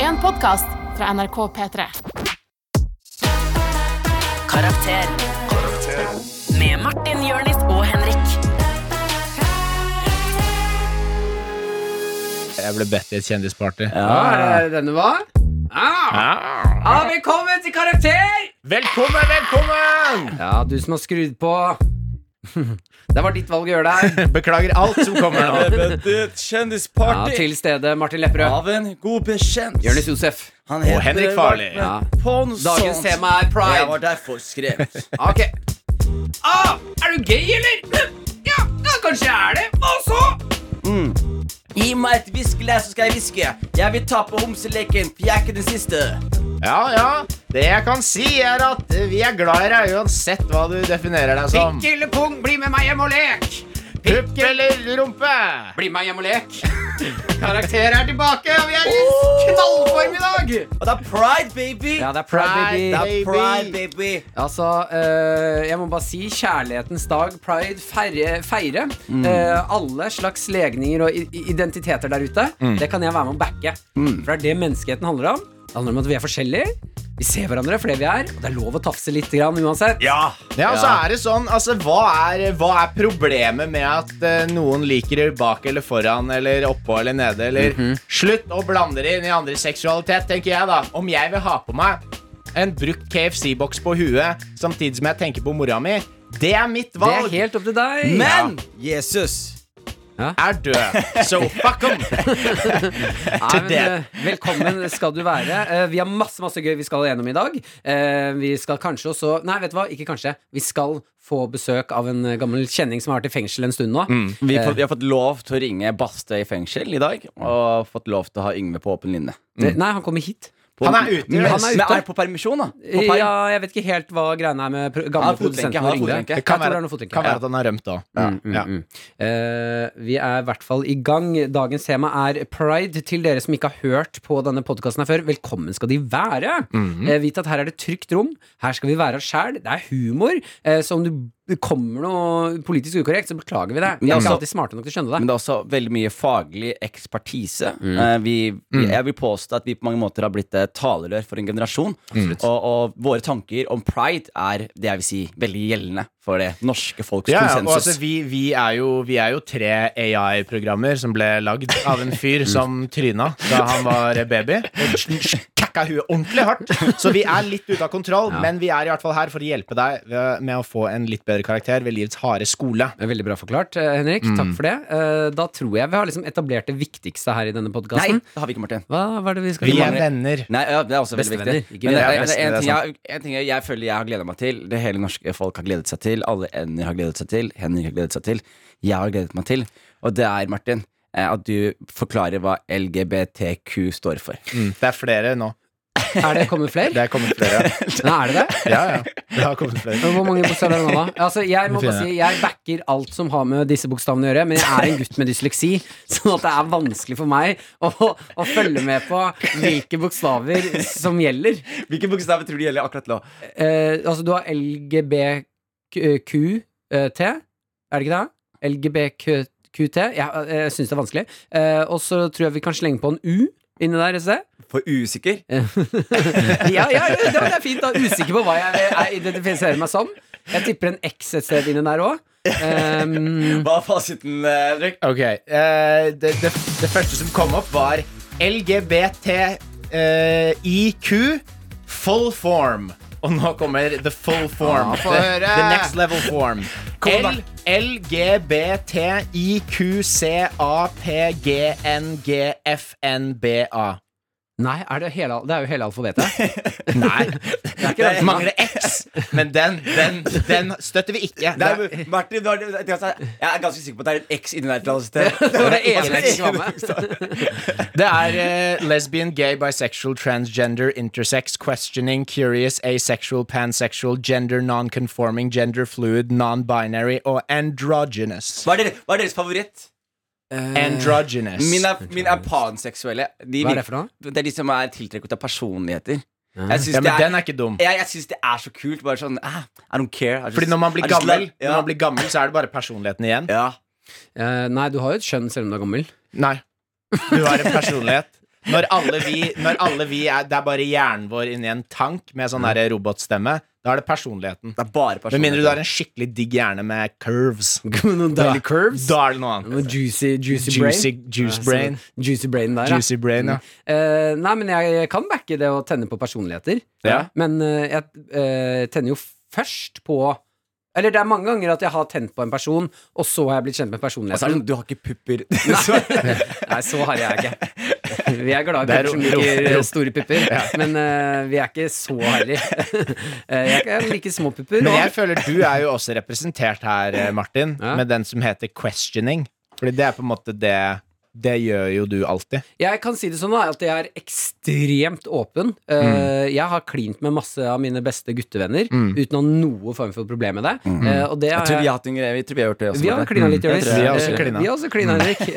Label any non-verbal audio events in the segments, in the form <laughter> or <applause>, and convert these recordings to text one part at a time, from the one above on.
en podkast fra NRK P3. Karakter. Med Martin, Jørnis og Henrik. Jeg ble bedt i et kjendisparty. Ja, denne var ah, ah, Velkommen til karakter! Velkommen, velkommen! Ja, du som har skrudd på <laughs> Det var ditt valg å gjøre det her. <laughs> Beklager alt som kommer nå. Beventet Ja, kjendisparty til stede Martin Lepperød. av en god bekjent. Jonis Josef. Han Og Henrik Farley. Ja. Ponsons. Dagens tema er pride. Jeg var derfor skrevet. <laughs> Ok. Ah, er du gay, eller? Ja, ja kanskje jeg er det. Hva så? Gi meg et whiskyglass, så skal jeg hviske. Jeg vil tape homseleken, for jeg er ikke den siste. Ja, ja. Det jeg kan si, er at vi er glad i deg uansett hva du definerer deg som. Pikk eller pung, bli med meg hjem og lek. Pupp eller rumpe. Bli med meg hjem og lek. Karakter er tilbake, og vi er i knallform i dag. Og det er pride, baby. Ja, det er pride, baby. Det Baby. er pride, baby. Altså, eh, jeg må bare si kjærlighetens dag, pride, feire. feire. Mm. Eh, alle slags legninger og i- identiteter der ute. Mm. Det kan jeg være med å backe. For det er det menneskeheten handler om. Det handler om at vi er forskjellige. Vi ser hverandre for det vi er, og det er lov å tafse litt grann uansett. Ja. Ja, og så er det sånn, altså, hva er, hva er problemet med at eh, noen liker det bak eller foran eller oppå eller nede? Eller Mhm. slutt å blande det inn i andre seksualitet, tenker jeg da. Om jeg vil ha på meg en brukt KFC-boks på huet samtidig som jeg tenker på mora mi, det er mitt Det er valg. helt opp til deg. Men Jesus er <laughs> død. So fuck 'em. <laughs> Nei, men, det. eh, velkommen skal du være. Eh, Vi har masse masse gøy vi skal gjennom i dag. Eh, Vi skal kanskje også Nei, vet du hva, ikke kanskje. Vi skal få besøk av en eh, gammel kjenning som har vært i fengsel en stund nå. vi, får, vi har fått lov til å ringe Bastøy fengsel i dag. Og fått lov til å ha Yngve på åpen linje. Det, nei, han kommer hit. På- Han er ute, Men han er ute. men er på permisjon, da. På perm. Ja, jeg vet ikke helt hva greiene er med pro- Han gamle har fotlenke, produsenten han har og Ringve. fotlenke. Jeg Det tror Kan det er være, noe fotlenke. kan være at han har rømt òg. Ja. Mm. Eh, vi er i hvert fall i gang. Dagens tema er pride. Til dere som ikke har hørt på denne podkasten før, velkommen skal de være. Eh, vit at her er det trygt rom. Her skal vi være oss sjæl. Det er humor. Eh, så om du det kommer noe politisk ukorrekt, så beklager vi det. Vi er Ja, ikke så- alltid smarte nok til å skjønne Men det. det er også veldig mye faglig ekspertise. Eh, Vi, vi, jeg vil påstå at vi på mange måter har blitt eh, talerør for en generasjon. Og, og våre tanker om pride er det jeg vil si veldig gjeldende for det norske folks Ja, ja, og konsensus. altså, vi, vi, er jo, vi er jo tre AI-programmer som ble lagd av en fyr som tryna da han var baby. Og sn- sn- kakka huet ordentlig hardt. Så vi er litt ute av kontroll, men vi er i hvert fall her for å hjelpe deg ved- med å få en litt bedre karakter ved livets harde skole. Veldig bra forklart, eh, Henrik. Takk for det. Eh, da tror jeg vi har liksom etablert det viktigste her i denne Nei, podkasten. det har vi ikke, Martin. Hva, hva er det vi skal Vi er gjøre? venner. Nei, ja, Det er også veldig Bestevenner, viktig. ikke Men det, venner. er- det, altså. er en, Ja, bestevenner, ting jeg, en ting jeg, jeg føler jeg har gleda meg til, det hele norske folk har gledet seg til, alle ender har gledet seg til, Henrik har gledet seg til, jeg har gledet meg til, og det er, Martin, eh, at du forklarer hva LGBTQ står for. Mm, Det er flere nå. Er det kommet flere? <laughs> Det er kommet flere. Nei, er det det? Ja, ja. Det har kommet flere. Men Hvor mange bokstaver er det nå, <laughs> da? Altså, jeg må Det bare finner si Jeg backer alt som har med disse bokstavene å gjøre, men jeg er en gutt med dysleksi, <laughs> sånn at det er vanskelig for meg å, å følge med på hvilke bokstaver som gjelder. Hvilke bokstaver tror du gjelder akkurat nå? Eh, altså, du har LGBQT, eh, er det ikke det? LGBQT. Jeg, jeg syns det er vanskelig. Eh, og så tror jeg vi kan slenge på en U inni der et sted. For usikker? <laughs> ja, ja, ja, det er fint. da Usikker på hva jeg, jeg identifiserer meg som. Jeg tipper en X et sted inni der Ehm, òg. Hva er fasiten, Henrik? Ok, eh, det, det, det første som kom opp var LGBTIQ eh, full form. Og nå kommer the full form. the, the next level form. Kom da. L LGBTIQCAPGNGFNBA. nei, er det, hele, det er jo hele alfabetet. Nei, ikke det. <laughs> det mangler X, men den, den, den støtter vi ikke. Nei, men Martin, du har, jeg er ganske sikker på at det er en X inni der et eller <laughs> annet sted. Det var det eneste jeg ikke var med. Det er eh, lesbian, gay, bisexual, transgender, intersex, questioning, curious, asexual, pansexual, gender non-conforming, gender fluid, non-binary og androgynous. Hva er, dere, hva er deres favoritt? Androgynous. Eh, Min er, min er panseksuelle. De Hva er vir- det for noe? Det er de som er tiltrukket av personligheter. Jeg syns ja, men det, den er- er ikke dum. jeg, jeg synes det er så kult. Bare sånn ah, I don't care. I just- Fordi når man, blir I just gammel, love- ja. når man blir gammel, så er det bare personligheten igjen. ja. Eh, nei, du har jo et kjønn selv om du er gammel. <laughs> Nei. Du har en personlighet. Når alle vi, når alle vi er, Det er bare hjernen vår inni en tank med sånn der robotstemme. Da er det personligheten. Det er bare Med mindre du har personlighet. en skikkelig digg hjerne med curves. Noen deilige curves. Da er det noe annet. Noe Juicy, juicy, Juicy, brain. juice Ja, brain. så Juicy brain der, ja. Juicy brain, ja. Eh, nei, men jeg kan backe det å tenne på personligheter. Ja. Men eh, jeg eh, tenner jo først på Eller det er mange ganger at jeg har tent på en person, og så har jeg blitt kjent med Og så er det personligheten. sånn, du har ikke <laughs> pupper. <laughs> Nei, nei så harde er jeg ikke. Vi er glad <laughs> i Det er pupper som ro- ro- liker ro- eh, store pupper, men eh, vi er ikke så harry. <laughs> Eh, jeg kan like små pupper. Men og- jeg føler du er jo også representert her, eh, Martin, Ja. med den som heter questioning. Fordi det er på en måte det Det gjør jo du alltid. Jeg kan si det sånn da, at jeg er ekstremt åpen. Eh, Mm. jeg har klint med masse av mine beste guttevenner uten å ha noe form for problem med det. Eh, og det Mm. Jeg har tror vi jeg har hatt en greie. Vi tror vi har gjort det også. vi har Marte. klina litt, Jeg Jonis. tror Vi jeg- har også Eh, klina. Vi har også Mm. klina, Henrik.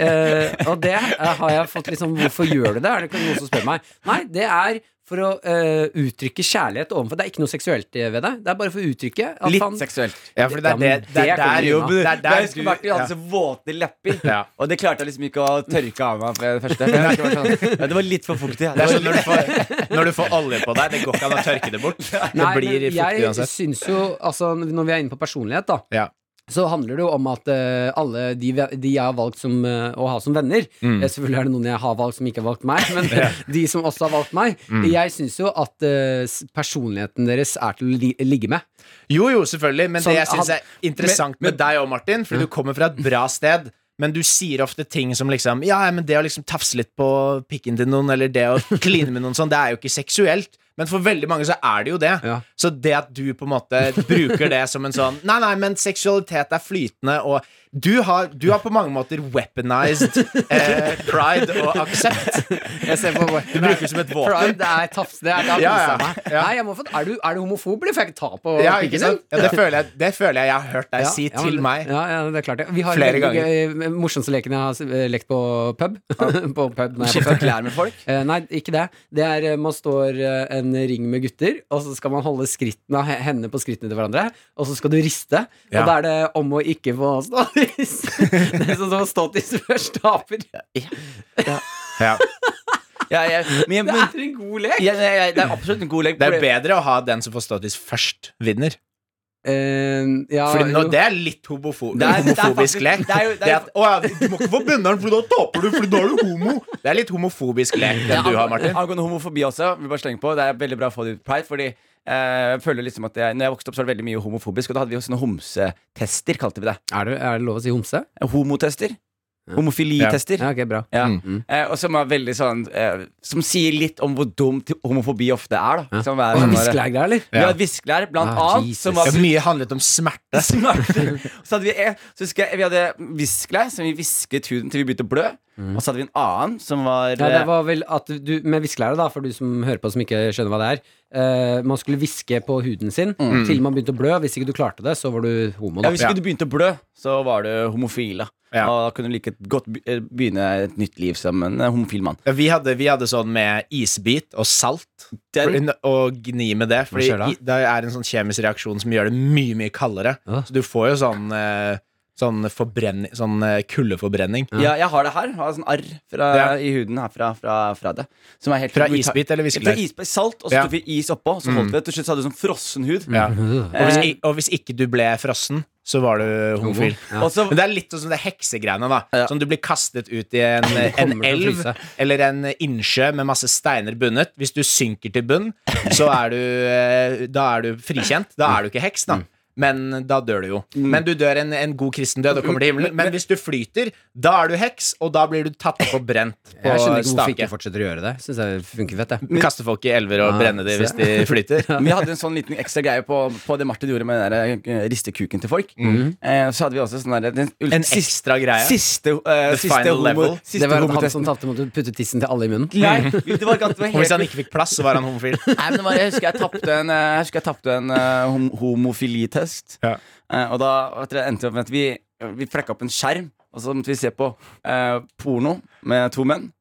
Eh, og det eh, har jeg fått liksom Hvorfor gjør du det? Er det ikke noen som spør meg? Nei, det er for å eh, uttrykke kjærlighet overfor Det er ikke noe seksuelt ved det. Det er bare for å uttrykke at Litt han seksuelt. Ja, fordi det Ja, er men det, det, det er kan der du jo gjøre. Det er jeg der du husker Bertil ja. hadde så våte <laughs> lepper, Ja. og det klarte jeg liksom ikke å tørke av meg. På det, <laughs> første. Jeg husker det, var sånn, ja, det var litt for fuktig. Ja. Det Det er var sånn når du, får, når du får olje på deg, det går ikke an å tørke det bort. Det <laughs> Nei, blir men fuktig jeg uansett. syns jo, altså når vi er inne på personlighet, da, Ja. så handler det jo om at eh, alle de, ve- de jeg har valgt som, eh, å ha som venner Mm. eh, Selvfølgelig er det noen jeg har valgt som ikke har valgt <laughs> meg, men de som også har valgt meg. Mm. Jeg syns jo at eh, s- personligheten deres er til å li ligge med. Jo, jo, selvfølgelig, men Sånn, det jeg syns han- Mm. er interessant med deg òg, Martin, fordi du kommer fra et bra sted. Men du sier ofte ting som liksom Ja, men det å liksom tafse litt på pikken til noen, eller <laughs> det å kline med noen sånn, det er jo ikke seksuelt. Men for veldig mange så er det jo det. Ja. Så det at du på en måte bruker det som en sånn <laughs> Nei, nei, men seksualitet er flytende, og du har, du har på mange måter weaponized eh, pride og aksept. Jeg ser på Du bruker det som et våpen. Pride er tafs, det er, det er Ja, ja, meg. ja. Nei, jeg må få, er, du, er du homofob, eller får jeg ikke ta på Ja, ikke pikken sant? din? Ja, det, føler jeg, det føler jeg jeg har hørt deg si ja, til men- meg. Ja, ja, det er klart det. Vi har Flere Flere ganger. ganger. Morsomste leken jeg har eh, lekt på pub. <laughs> på pub når jeg er på Skifta pub. klær med folk. Eh, nei, ikke det. Det er eh, Man står eh, en ring med gutter, og så skal man holde skrittene av he- hendene på skrittene til hverandre, og så skal du riste. Ja. Og da er det om å ikke få <laughs> stå tiss. Det er sånn som å stå tiss først taper. Ja. Ja, jeg, men, jeg- Det men, er en god lek! jeg, jeg, jeg, det er absolutt en god lek. Det er bedre å ha den som får status først, vinner. Eh, ja, Fordi nå, jo. det er litt homofo Ah, Det er- det er homofobisk faktisk- lek. det er jo- det er- Det at, å, ja, du må ikke få binderen, for da taper du, for da er du homo. Det er litt homofobisk lek, den du har, Martin. Angående homofobi også, vil bare slenge på. Det er veldig bra å få det ut i Pride, fordi eh, jeg føler liksom at jeg, Når jeg vokste opp, så var det veldig mye homofobisk, og da hadde vi jo sånne homsetester, kalte vi det. Eh, Er, det, er det lov å si homse? Homotester. Homofilitester. Ja, ok, bra. Ja. Mm. Eh, og som er veldig sånn eh, Som sier litt om hvor dumt homofobi ofte er, da. Som er, Og sånn der- Viskelær der, eller? Vi hadde viskelær, blant Ah, annet, Jesus. som var Ja, <laughs> mye handlet om smerte. Smerter. Så hadde vi, en- så husker jeg, vi hadde viskelær som vi visket huden til vi begynte å blø. Og så hadde vi en annen som var, Mm. Ja, det var vel at du, Med viskelære, da, for du som hører på som ikke skjønner hva det er. eh, man skulle hviske på huden sin til man begynte å blø. Hvis ikke du klarte det, så var du homo. Da. ja, Hvis ikke du begynte å blø, så var du homofil. Da. Ja. Og da kunne du like godt be- eh, begynne et nytt liv som en eh, homofil mann. Ja, vi, hadde, vi hadde sånn med isbit og salt. Den, Fordi- Og gni med det. Fordi skjer da? i- det er en sånn kjemisk reaksjon som gjør det mye, mye kaldere. Ja. Så du får jo sånn, eh, sånn, forbrenning, sånn eh, kuldeforbrenning. ja, jeg har det her. Jeg har sånn arr fra, Ja. i huden her fra, fra, fra det. Som er helt Fra isbit eller Fra viskelær? isbit, salt, og så Ja. Mm. tok vi is oppå. Så holdt vi det. Til slutt så hadde du sånn frossen hud. Ja. Mhm. Og, hvis, Eh. i- og hvis ikke du ble frossen, så var du homofil. Ja. Og så Men det er litt sånn som det hexegreiene. da Ja. Sånn Du blir kastet ut i en, en kommer til å elv fryse. eller en innsjø med masse steiner bundet. Hvis du synker til bunn, så er du, eh, da er du frikjent. Da er du ikke heks, da. Mm. Men da dør du jo. Men du dør en, en god kristendød og kommer til Mm. himmelen. Men hvis du flyter, da er du heks, og da blir du tatt opp og brent på Jeg skjønner ikke hvorfor stake. ikke fortsetter å gjøre det. Syns jeg funker fett, det. Kaste folk i elver og Ah, brenne dem hvis se. de <laughs> flyter. Men Vi hadde en sånn liten ekstra greie på, på det Martin gjorde med den der eh, riste kuken til folk. Eh, så hadde vi også sånn der den ul- Mm. En siste, ekstra greie. siste, eh, The siste final homo, level. siste Det var han som homotesten. tapte mot å putte tissen til alle i munnen. Nei, det var ikke at det var Og <laughs> hvis han helt ikke fikk plass, så var han homofil. Nei, men det var, Jeg husker jeg tapte en, eh, jeg husker jeg tapte en eh, hom homofilitest. Ja. Eh, og da vet dere, endte det opp med at vi, vi flekka opp en skjerm, og så måtte vi se på eh, porno med to menn.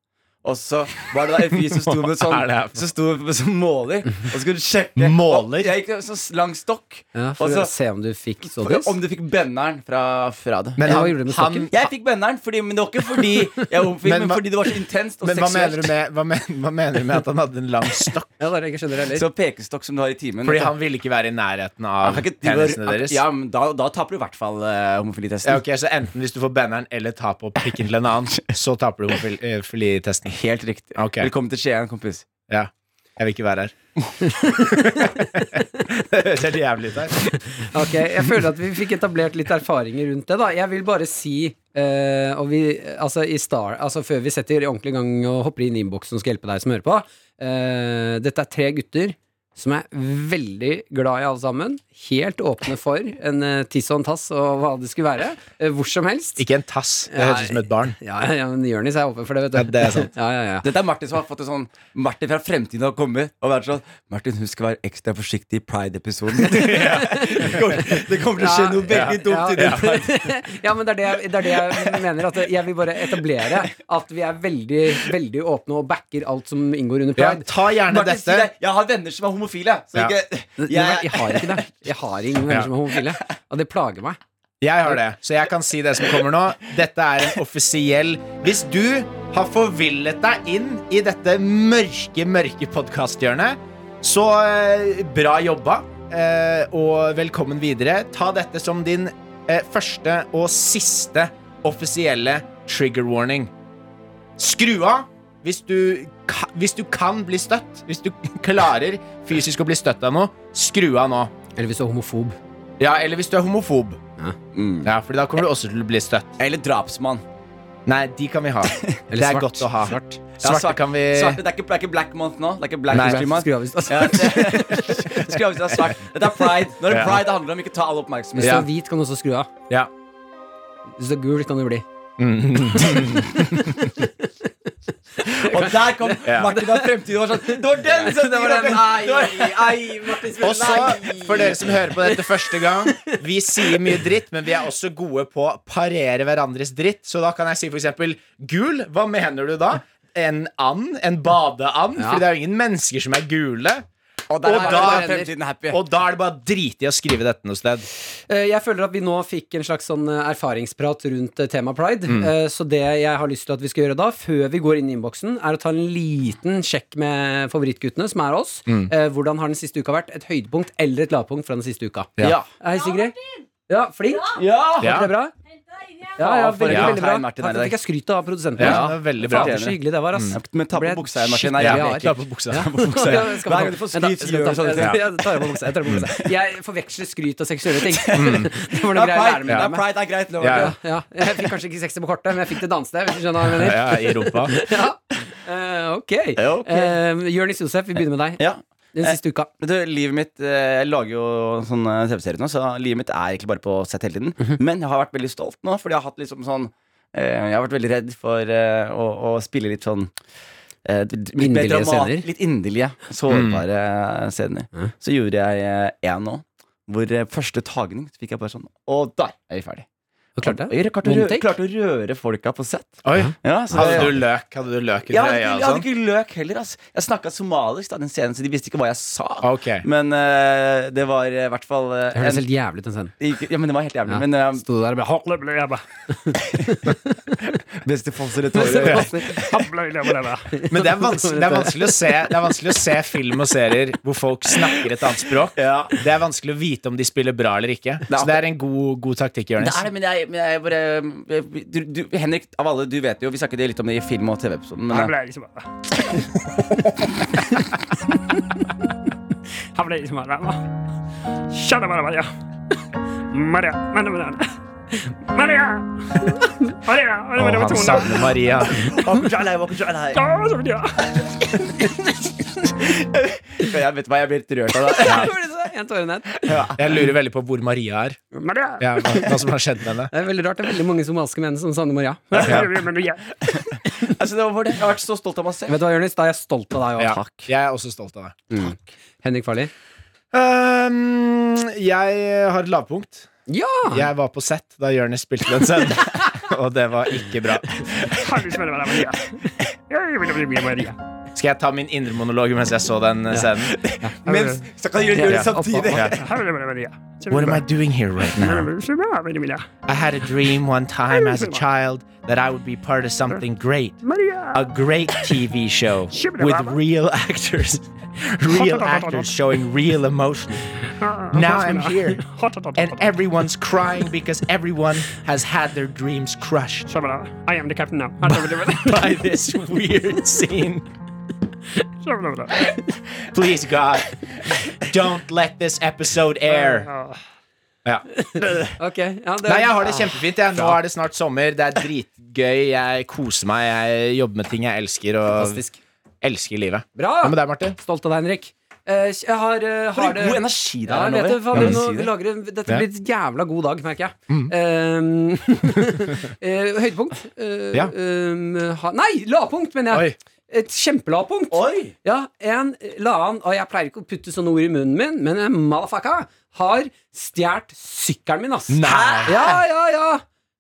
Og så var det da en fyr som sto <laughs> med Hva er det her sånn for- Som sto med sånn måler, og så skulle du sjekke Måler? Og Jeg gikk med sånn lang stokk. Ja, og for å så se om du fikk sådis. om du fikk benderen fra, fra det. Men Ja, han, hva gjorde du med han, stokken? Jeg fikk benderen, fordi, men det var ikke fordi jeg var homofil, Men men, hva- fordi det var så intenst og men hva seksuelt. mener, du med, hva, men, hva mener du med at han hadde en lang stokk? Ja, det er det jeg ikke skjønner heller. Så pekestokk som du har i timen. <laughs> Fordi han ville ikke være i nærheten Han av kan ikke- penisene han- deres? Ja, men da, da taper du i hvert fall eh, homofilitesten. Ja, ok, Så enten hvis du får banneren eller tar på pikken til en <laughs> annen, så taper du homofil- eh, filitesten. Helt riktig. Ok. Velkommen til Skien, kompis. Ja. Jeg vil ikke være <laughs> her. <laughs> det høres helt jævlig ut her. Ok, Jeg føler at vi fikk etablert litt erfaringer rundt det. da Jeg vil bare si, eh, og vi, altså, i star, altså før vi setter ordentlig i gang og hopper inn i innboksen og skal hjelpe deg som hører på eh, Dette er tre gutter som er veldig glad i alle sammen. Helt åpne for en eh, tiss og en tass og hva det skulle være. eh, hvor som helst. Ikke en tass. Det høres ut som et barn. Ja, ja, men Jonis er åpen for det, vet du. Ja, det er sant. Ja, ja, ja. Dette er Martin som har fått en sånn Martin fra fremtiden har kommet og vært sånn Martin, husk å være ekstra forsiktig i <laughs> Pride-episoden. det, kommer- det kommer til å skje noe veldig dumt ja. i den Pride. <laughs> ja, men det er det, jeg- det er det jeg mener. At jeg vil bare etablere at vi er veldig veldig åpne og backer alt som inngår under Ja, pride. ta gjerne Martin, si dette. deg, jeg har venner som er homofile, så Ja. ikke Jeg, jeg har ikke det. Jeg har ingen venner som er homofile. Og det plager meg. Jeg har det, så jeg kan si det som kommer nå. Dette er en offisiell Hvis du har forvillet deg inn i dette mørke, mørke podkasthjørnet, så eh, bra jobba, eh, og velkommen videre. Ta dette som din eh, første og siste offisielle trigger warning. Skru av hvis du, ka- hvis du kan bli støtt. Hvis du <laughs> klarer fysisk å bli støtt av noe, skru av nå. Eller hvis du er homofob. Ja, eller hvis du er homofob. Mm. Ja, fordi da kommer du også til å bli støtt. Eller drapsmann. Nei, de kan vi ha. Det er svart. godt å ha. Svart. Ja, Svarte svart- kan vi svarte, det, er ikke, det er ikke black month nå. Det er ikke black Nei. history month. Skru av hvis du er Ja, svart. det- <laughs> Skru av hvis du er svart. Dette er pride. Når det er Ja. pride, det handler om ikke ta all oppmerksomhet. Hvis du Ja. er hvit, kan du også skru av. Ja. Hvis du er gul, kan du bli. Og der kom Martin av fremtiden og var sånn Det var den som Det var den. Ai, Martin Og så, for dere som hører på dette første gang, vi sier mye dritt, men vi er også gode på å parere hverandres dritt. Så da kan jeg si for eksempel gul. Hva mener du da? En and? En badeand? Ja. For det er jo ingen mennesker som er gule. Og, Og da da, er fremtiden happy. og da er det bare drit i å skrive dette noe sted. Eh, Jeg føler at vi nå fikk en slags sånn eh, erfaringsprat rundt eh, tema pride. Eh, Så det jeg har lyst til at vi skal gjøre da, før vi går inn i innboksen, er å ta en liten sjekk med favorittguttene, som er oss. Eh, Hvordan har den siste uka vært? Et høydepunkt eller et lavpunkt fra den siste uka? Ja. Hei, Sigrid. Ja, flink. Ja! Ja. Har du det bra? Ja, ja, veldig, Ja, veldig bra. Hei, Martin, er Her det fikk jeg skryt av produsenten. Ja, det var veldig bra. Fader, så hyggelig det var, ass. Men ta Ble på buksa her, Martin. skikkelig Nei, rar. jeg Ta på buksa. Ta på buksa. Hver Ja, <laughs> skal man gang du får ta- Vent da, jeg skryt, skal gjør du ta- sånne ting. Ja, jeg tar av meg buksa. Jeg tar av meg buksa. <laughs> Jeg forveksler skryt og seksuelle ting. <laughs> Det var Det noe er greier jeg Mm. lærte pride, det er meg. pride, det er greit. Ja, Lover. Ja, ja. Jeg fikk kanskje ikke sexy på kortet, men jeg fikk det dansete. Hvis du skjønner hva jeg mener. Ja, i rumpa. Ja. Eh, ok. Ja, ok. Uh, Jonis Josef, vi begynner med deg. Ja. Den siste uka. Men Du, livet mitt eh, Jeg lager jo sånne TV-serier nå, så livet mitt er egentlig bare på sett hele tiden. Mhm. Men jeg har vært veldig stolt nå, fordi jeg har hatt liksom sånn eh, Jeg har vært veldig redd for eh, å, å spille litt sånn eh, d- d- litt mer Inderlige dramat- scener. Mm. Litt inderlige, sårbare scener. Så gjorde jeg én nå, hvor eh, første tagning så fikk jeg bare sånn Og der er vi ferdig. Og klarte Og det? Jeg klarte å, One røre, take? klarte å røre folka på sett. Oi. Ja, så Hadde det- du løk Hadde du løk jeg under hadde, øya ikke, og jeg hadde sånn? ikke løk heller. ass. Jeg snakka somalisk, da, den scenen, så de visste ikke hva jeg sa. Ok. Men eh, det var i hvert fall eh, Det høres en- helt jævlig ut, den scenen. ikke- Ja, men det var helt jævlig. Ja. Men eh, Sto der og bare beste falsere tårer. <laughs> Men det er, vanskelig, det, er vanskelig å se, det er vanskelig å se film og serier hvor folk snakker et annet språk. Ja. Det er vanskelig å vite om de spiller bra eller ikke. Så det er en god, god taktikk, Det Jonis. er det, men jeg, men jeg bare jeg, du, du, Henrik, av alle, du vet jo Vi snakket litt om det i film- og TV-episoden, men eh, Å, han savner Maria. Oh, Oh, jeg vet hva, jeg blir helt rørt av det. En tåre ned. Jeg lurer veldig på hvor Maria er. Ja, hva, hva som har skjedd med henne. Det er veldig rart. Det er veldig mange somaliske menn som savner Maria. <laughs> Altså, det var det. Jeg har vært så stolt av meg selv. Vet du hva, Jonis? Da er jeg stolt av deg òg. Ja, jeg er også stolt av deg. Mm. Henrik Farli. Um, jeg har et lavpunkt. Ja! Jeg var på set <laughs> da Jonis spilte den scenen. Og det var ikke bra. Skal jeg ta min indre monolog mens jeg så den eh, scenen? Mens, så kan du gjøre det samtidig. <laughs> What am I doing here right now? I had a dream one time as a child that I would be part of something great. A great TV show with real actors. <laughs> Real actors showing real emotion. Now I'm here. And everyone's crying because everyone has had their dreams crushed I am the captain now. by this weird scene. Please, God, don't let this episode air. Ja. Ok, ja, det, Nei, jeg har det kjempefint. Jeg. Nå er det snart sommer. Det er dritgøy. Jeg koser meg. Jeg jobber med ting jeg elsker, og Fantastisk. elsker livet. Bra! Hva med deg, Martin? Stolt av deg, Henrik. Eh, jeg har, eh, For har en det god energi det ja, er jeg vet det, faen, Ja, Mm. nå, si vi det. lager en, Dette Ja. blir en jævla god dag, merker jeg. <laughs> Eh, eh, høydepunkt? Eh, Ja. eh, ha, nei, lavpunkt, mener jeg. Oi. Et kjempelavpunkt. Oi! Ja, en la han Og jeg pleier ikke å putte sånne ord i munnen min, men en motherfucker har stjålet sykkelen min, ass. Nei. Ja, ja, ja.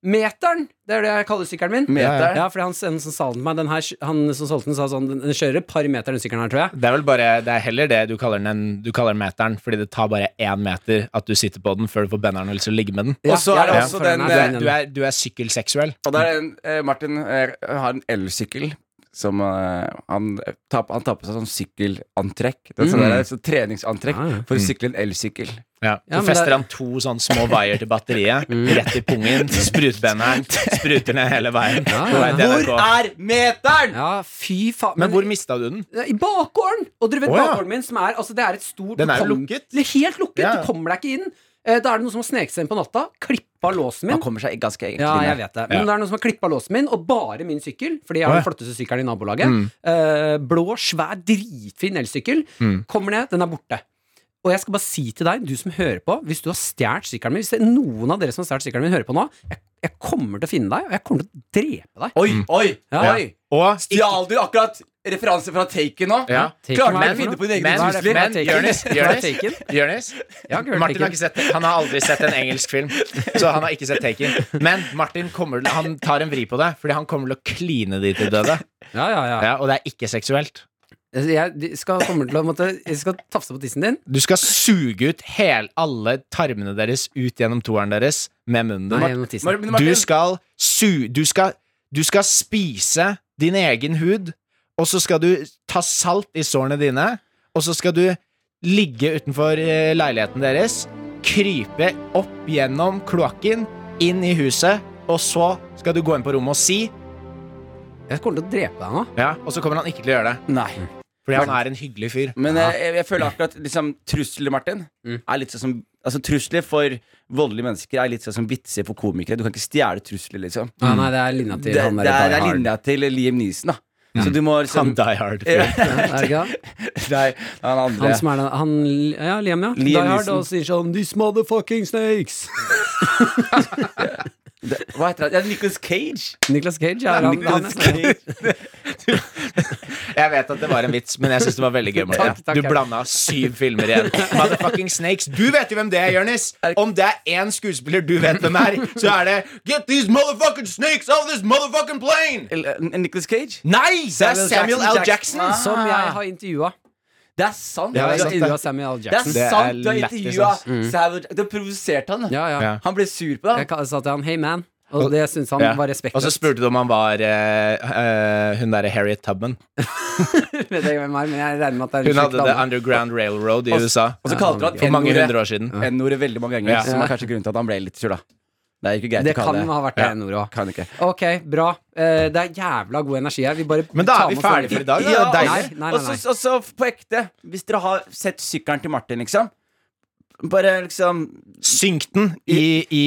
Meteren. Det er det jeg kaller sykkelen min. Meteren? Ja, fordi han, som- han som solgte den meg, den her, han som solgte den, sa sånn Den den kjører et par meter, den sykkelen her, tror jeg. Det er vel bare Det er heller det du kaller den en- Du kaller den meteren, fordi det tar bare én meter at du sitter på den før du får benderen og lyst til å ligge med den. Ja, Og så ja, er det ja. også Følger den, her, Du eh, følger er, du er, her. du er sykkelseksuell. Og der er en, eh, Martin eh, har en elsykkel som eh, han, tar, han tar på seg sånn sykkelantrekk. Det er sånn der, så treningsantrekk Ja, Mm. Ah, ja. Mm. for å sykle en elsykkel. Ja. Mm. Ja, Så men fester det- han to sånne små vaier til batteriet, rett i pungen, sprutbenderen, spruter ned hele veien. ja, På vei til Hvor NRK. er meteren?! Ja, fy faen. Men hvor mista du den? I bakgården! Og dere vet Å, ja. bakgården min, som er Altså, det er et stort Den er du jo kom- lukket. Det er Helt lukket. Ja, ja. Du kommer deg ikke inn. Eh, Da er det noen som har sneket seg inn på natta, klippa låsen min. Han kommer seg ganske egentlig Ja, jeg ned. vet det. Men Ja. det er noen som har klippa låsen min, og bare min sykkel. Fordi jeg Å, har ja. Mm. den flotteste sykkelen i nabolaget. Eh, blå, svær, dritfin elsykkel. Mm. Kommer ned, den er borte. Og jeg skal bare si til deg, du som hører på, hvis du har stjålet sykkelen min Hvis det er noen av dere som har stjålet sykkelen min, hører på nå, jeg, jeg kommer til å finne deg, og jeg kommer til å drepe deg. Oi, oi, Mm. Ja. oi! Og Stjal du akkurat referanse fra Taken nå? Ja. Klarte du Taken, ikke å finne på dine egne Men, Hva er det for trusler? noe? men <laughs> Jonis, Taken? Jonis, Taken? Jonis har ikke hørt Martin Taken. har ikke sett Han har aldri sett en engelsk film, så han har ikke sett Taken. Men Martin kommer, til- han tar en vri på det, fordi han kommer til å kline de til døde. Ja, ja, ja. Ja, og det er ikke seksuelt. Altså, Jeg de skal, kommer til å måtte Jeg skal tafse på tissen din. Du skal suge ut hel, alle tarmene deres ut gjennom toeren deres med munnen Nei, din. gjennom tissen. Mar- men Du Martin, skal su... Du skal, du skal spise din egen hud, og så skal du ta salt i sårene dine, og så skal du ligge utenfor eh, leiligheten deres, krype opp gjennom kloakken, inn i huset, og så skal du gå inn på rommet og si Jeg kommer til å drepe deg nå. Mm. ja, Og så kommer han ikke til å gjøre det, Nei. fordi han er en hyggelig fyr. Men eh, jeg, jeg føler akkurat liksom, trusler, Martin, Mm. er litt sånn som Altså Trusler for voldelige mennesker er litt sånn som vitser for komikere. Du kan ikke stjele trusler, liksom. Ja, nei, det er linja Det, til det, han der. er, det er Die Hard. linja til Liam Neeson, da. Mm. Så du må liksom Han die hard. Ja, fyr. Ja, er det ikke det? <laughs> Nei, han andre. Han som er den han, Ja, Liam, ja. Liam Die Hard Neeson. og sier sånn These motherfucking snakes. Det, hva heter han? Ja, Nicholas Cage. Nicolas Cage er han. han Nicolas er, Cage. Jeg vet at det var en vits, men jeg syns det var veldig gøy. Martin. Takk, takk, du takk. blanda syv filmer igjen. Motherfucking Snakes. Du vet jo hvem det er, Jonis. Om det er én skuespiller du vet hvem er, så er det Get these motherfucking snakes off this motherfucking plane! Eller, eh, Nicolas Cage? Nei! Det er Samuel L. Jackson. Ah. som jeg har intervjua. Det er sant! Ja, det er sant, sant. Intervjua Samuel L. Det er Jackson. Det er sant. Du har lættis, intervjua ass. Savage. Du har provosert han. da. Ja, ja. Ja. Han ble sur på Jeg deg. ka- sa til han Hey, man. Og det syns han Ja. var Og så respektløst. spurte du om han var eh, eh, hun derre Harriet Tubman. Jeg vet ikke hvem han er, men jeg regner med at det er Hun en kjekk hadde The dame. Underground Railroad i Og- USA Og så kalte han for mange N-ordet- hundre år siden. N-ordet veldig mange ganger, Ja. som er kanskje grunnen til at han ble litt sur, da. Det er ikke greit Det å kalle kan det. ha vært det Ja. ene ordet òg. Kan ikke. Ok, bra. Eh, Det er jævla god energi her. Vi bare Men da tar er vi med oss alle- ferdige for i dag. Ja, Da. Det er nei, Deilig. nei, nei, Og så- og så på ekte, hvis dere har sett sykkelen til Martin, liksom Bare liksom Synk den i, i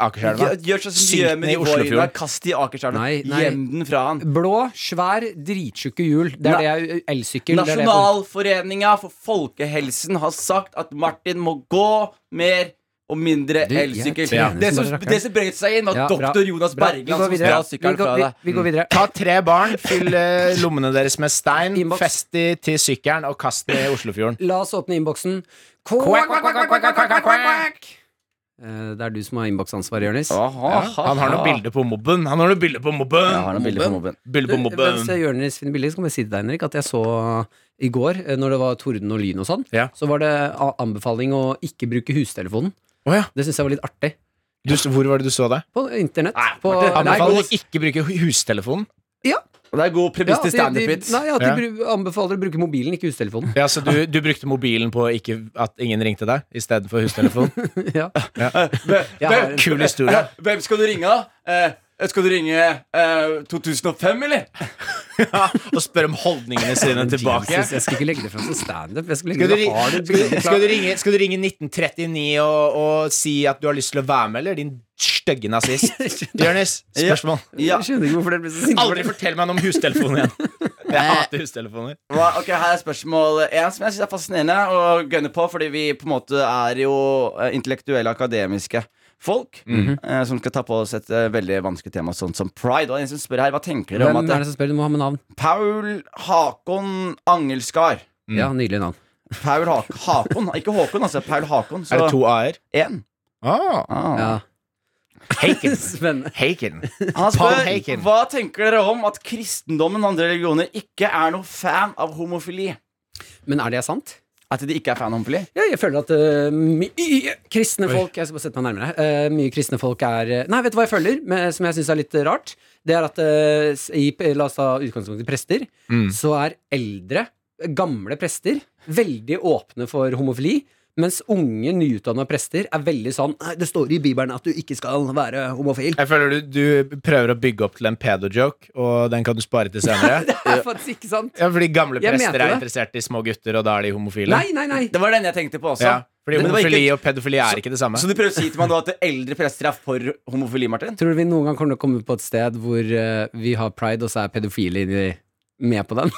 Akerselva. gjør, gjør sånn som Synk de gjør med den i de voiene. Oslofjorden. Kast de i Akerselva. Nei, nei. Gjem den fra han. Blå, svær, dritsjukke hjul. Det er Nei. det jeg Elsykkel. det er det jeg- Nasjonalforeninga for folkehelsen har sagt at Martin må gå mer og mindre Du, jeg elsykkel. tjener Det som som, bare rakkeren. det som brøt seg inn, var Ja, bra. doktor Jonas Bra. Bergland Vi går som videre. stjal sykkelen Vi går- fra deg. Vi, vi går videre. Ta tre barn, fyll eh, lommene deres med stein, Inbox. fest de til sykkelen og kast den i Oslofjorden. La oss åpne innboksen. Quack, quack, quack, quack, quack, quack, quack, quack. Eh, Det er du som har innboksansvar, Jonis. Han har noen bilder på mobben. Han har noen bilder på mobben. Jeg har noen bilder på mobben. Bilder Du, på mobben. Mens Jonis finner bilder, så kan jeg si til deg, Henrik, at jeg så i går, eh, når det var torden og lyn og sånn, Ja. så var det a- anbefaling å ikke bruke hustelefonen. Å ja. Det syns jeg var litt artig. Du, hvor var det du så det? På internett. på, Anbefaler Nei, å ikke bruke hu- hustelefonen. Og det er god premiss til ja, de, de, standup-vits. nei, ja, de Ja. bru- anbefaler å bruke mobilen, <laughs> ikke hustelefonen. Ja, så du, du brukte mobilen på ikke, at ingen ringte deg, istedenfor <laughs> hustelefon? ja. Jeg Hvem- har en- Kul historie. Hvem skal du ringe, da? Eh, skal du ringe eh, 2005, eller? Ja, og spør om holdningene sine tilbake. <laughs> Jesus, jeg skal ikke legge det fram som standup. Jeg skal legge Skal du, det ri- har du skal, bildet du- klart. skal, du ringe, skal du ringe 1939 og, og si at du har lyst til å være med, eller din stygge nazist? Jonis, spørsmål. Ja. Jeg skjønner ikke hvorfor dere ble så sinte. for Aldri det. fortell meg noe om hustelefonen igjen. Jeg hater hustelefoner. Hva- Ok, Her er spørsmål én som jeg synes er fascinerende å gønne på, fordi vi på en måte er jo eh, intellektuelle, akademiske folk Mhm. eh, som skal ta på oss et eh, veldig vanskelig tema, sånn som pride. Og en som spør her, hva tenker dere om Hvem at er det det som spør? Du må ha med navn. Paul Hakon Angelskar Mm. Ja, nydelig navn. Paul ha Hakon, ikke Håkon, altså. Paul Er Hakon, det så to a-er? én. Ah. Ah. Ja. Haken. <laughs> Spennende. Haken. Han Paul spør Haken. hva tenker dere om at kristendommen og andre religioner ikke er noe fan av homofili. Men er det sant? At de ikke er fan av homofili? Ja, jeg føler at eh, mye kristne folk Jeg skal bare sette meg nærmere. eh, mye kristne folk er eh, Nei, vet du hva jeg føler, men, som jeg syns er litt eh, rart? Det er at eh, s- i, La oss ta utgangspunkt i prester. Så er eldre, gamle prester veldig åpne for homofili. Mens unge, nyutdanna prester er veldig sånn Nei, det står i Bibelen at du ikke skal være homofil. Jeg føler du, du prøver å bygge opp til en pedo-joke, og den kan du spare til senere. Det <laughs> er faktisk ikke sant. <laughs> Ja, fordi gamle Jeg prester mente er det. interessert i små gutter, og da er de homofile. Nei, nei, nei. Det var den jeg tenkte på også. Ja, fordi Men det var homofili ikke- og pedofili er ikke det samme. Så du prøver å si til meg nå at eldre prester er for homofili, Martin? Tror du vi noen gang kommer til å komme på et sted hvor eh, vi har pride, og så er pedofile inni- med på den?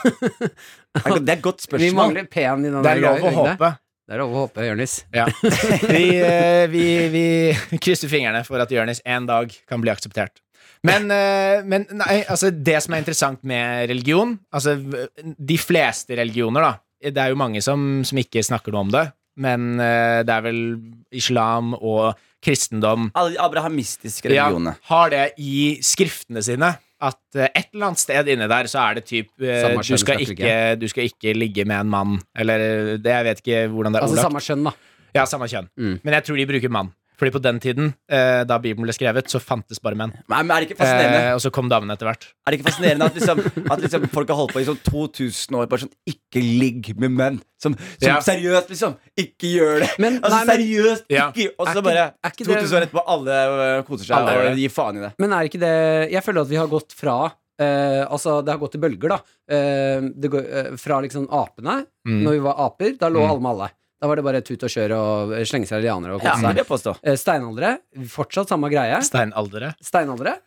<laughs> Det er et godt Vi spørsmål. mangler P-en i den Det er der lov å greia, ikke det? håpe. Det er lov å håpe, Jonis. Ja. <laughs> Vi, eh, vi, vi krysser fingrene for at Jonis en dag kan bli akseptert. Men, eh, men nei, altså, det som er interessant med religion Altså, de fleste religioner, da Det er jo mange som, som ikke snakker noe om det, men eh, det er vel islam og kristendom Alle de abrahamistiske ja, religionene. har det i skriftene sine. At eh, et eller annet sted inni der så er det typ eh, Samme du, skal kjønnsperspektiv. ikke, du skal ikke ligge med en mann, eller eh, det, Jeg vet ikke hvordan det er Altså ordlagt. samme kjønn, da. Ja, samme kjønn. Mm. Men jeg tror de bruker mann. Fordi på den tiden, eh, da Bibelen ble skrevet, så fantes bare menn. Men er det ikke fascinerende, Eh, og så kom damene etter hvert. er det ikke fascinerende at, liksom, at liksom folk har holdt på i sånn 2000 år bare sånn Ikke ligg med menn. Som, som Ja. seriøst, liksom. Ikke gjør det. Men- altså nei, men- seriøst, Ja. ikke gjør Og Er så ikke- bare er ikke det- 2000 år etterpå, alle øh, koser seg Alle gjør og det. gir faen i det. Men er ikke det Jeg føler at vi har gått fra eh, altså, det har gått i bølger, da. Eh, det går, eh, fra liksom apene, Mm. når vi var aper, da lå alle med alle. Da var det bare tut og kjør og eh, slenge seg i lianer og Ja, kose det seg. vil jeg påstå. Eh, steinaldere, fortsatt samme greie. Steinaldere. Steinaldere.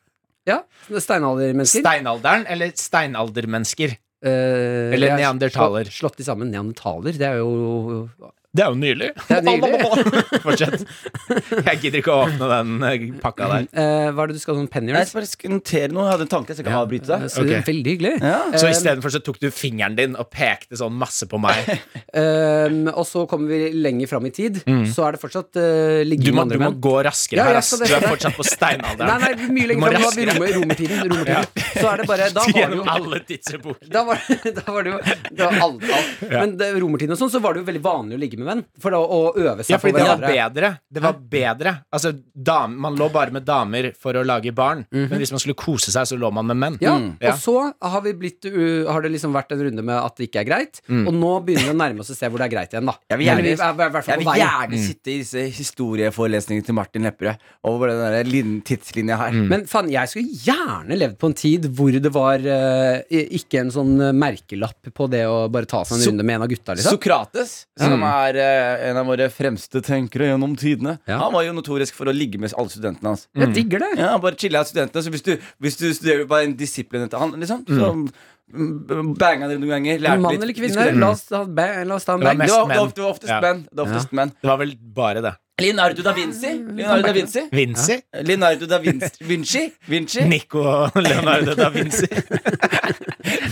Ja, steinaldermennesker. Steinalderen eller steinaldermennesker. Eh, Eller jeg har neandertaler. Slått, slått de sammen. Neandertaler, det er jo Det er jo nylig. Det er nylig. <laughs> Fortsett. Jeg gidder ikke å åpne den eh, pakka der. eh, Hva er det du skal sånn Jeg pennyers? skal bare sk- notere noe. Jeg hadde en tanke, så jeg kan avbryte deg. Så det er ok. Veldig hyggelig. Ja. Så istedenfor så tok du fingeren din og pekte sånn masse på meg. <laughs> Ehm, og så kommer vi lenger fram i tid, så er det fortsatt uh, Du ligging må, Mm. med du andre må menn. gå raskere Ja, her, jeg ass. skal Du det. er fortsatt på Nei, steinalderen. <laughs> nei, mye Du må lenger fram. Det raskere. var romer- romertiden. romertiden. Så er det bare <laughs> Da var det jo Gjennom alle tidsepoker. da var, <laughs> da var det jo det var alt, alt. Men det, romertiden og sånn, så var det jo veldig vanlig å ligge med venn. For da, å øve seg Ja, fordi på det var hverandre. bedre. Det var bedre. Altså, dam, man lå bare med damer for å lage barn, men hvis man skulle kose seg, så lå man med menn. Mhm. Ja, Mm. Ja. Og så har, vi blitt, uh, har det liksom vært en runde med at det ikke er greit, Mm. og nå begynner vi å nærme oss et sted hvor det er greit igjen, da. Jeg vil gjerne- Eller vi er, i hvert Jeg fall vil på veien. Mm. gjerne sitte i disse historieforelesningene til Martin Lepperød over den der lin- tidslinja her. Mm. Men faen, jeg skulle gjerne levd på en tid hvor det var eh, ikke en sånn eh, merkelapp på det å bare ta seg en Så- runde med en av gutta, liksom. Sokrates, Mm. som er eh, en av våre fremste tenkere gjennom tidene, Ja. han var jo notorisk for å ligge med alle studentene hans. Mm. Jeg digger det. Ja, han bare chilla studentene. Så hvis du, hvis du studerer bare en disiplin etter han, liksom, så mm, banga dere noen ganger. lærte Mann litt, eller kvinne, diskuterte. la oss, ta- ba- la oss ta en Det var bang. Det mest var, det var menn. ofte- det var oftest Ja. menn. Det var oftest menn. Det var vel bare det. Leonardo da Vinci. Leonardo da Vinci. Vinci? Eh? Leonardo da Vinci. Vinci. Vinci. <laughs> Nico og Leonardo da Vinci.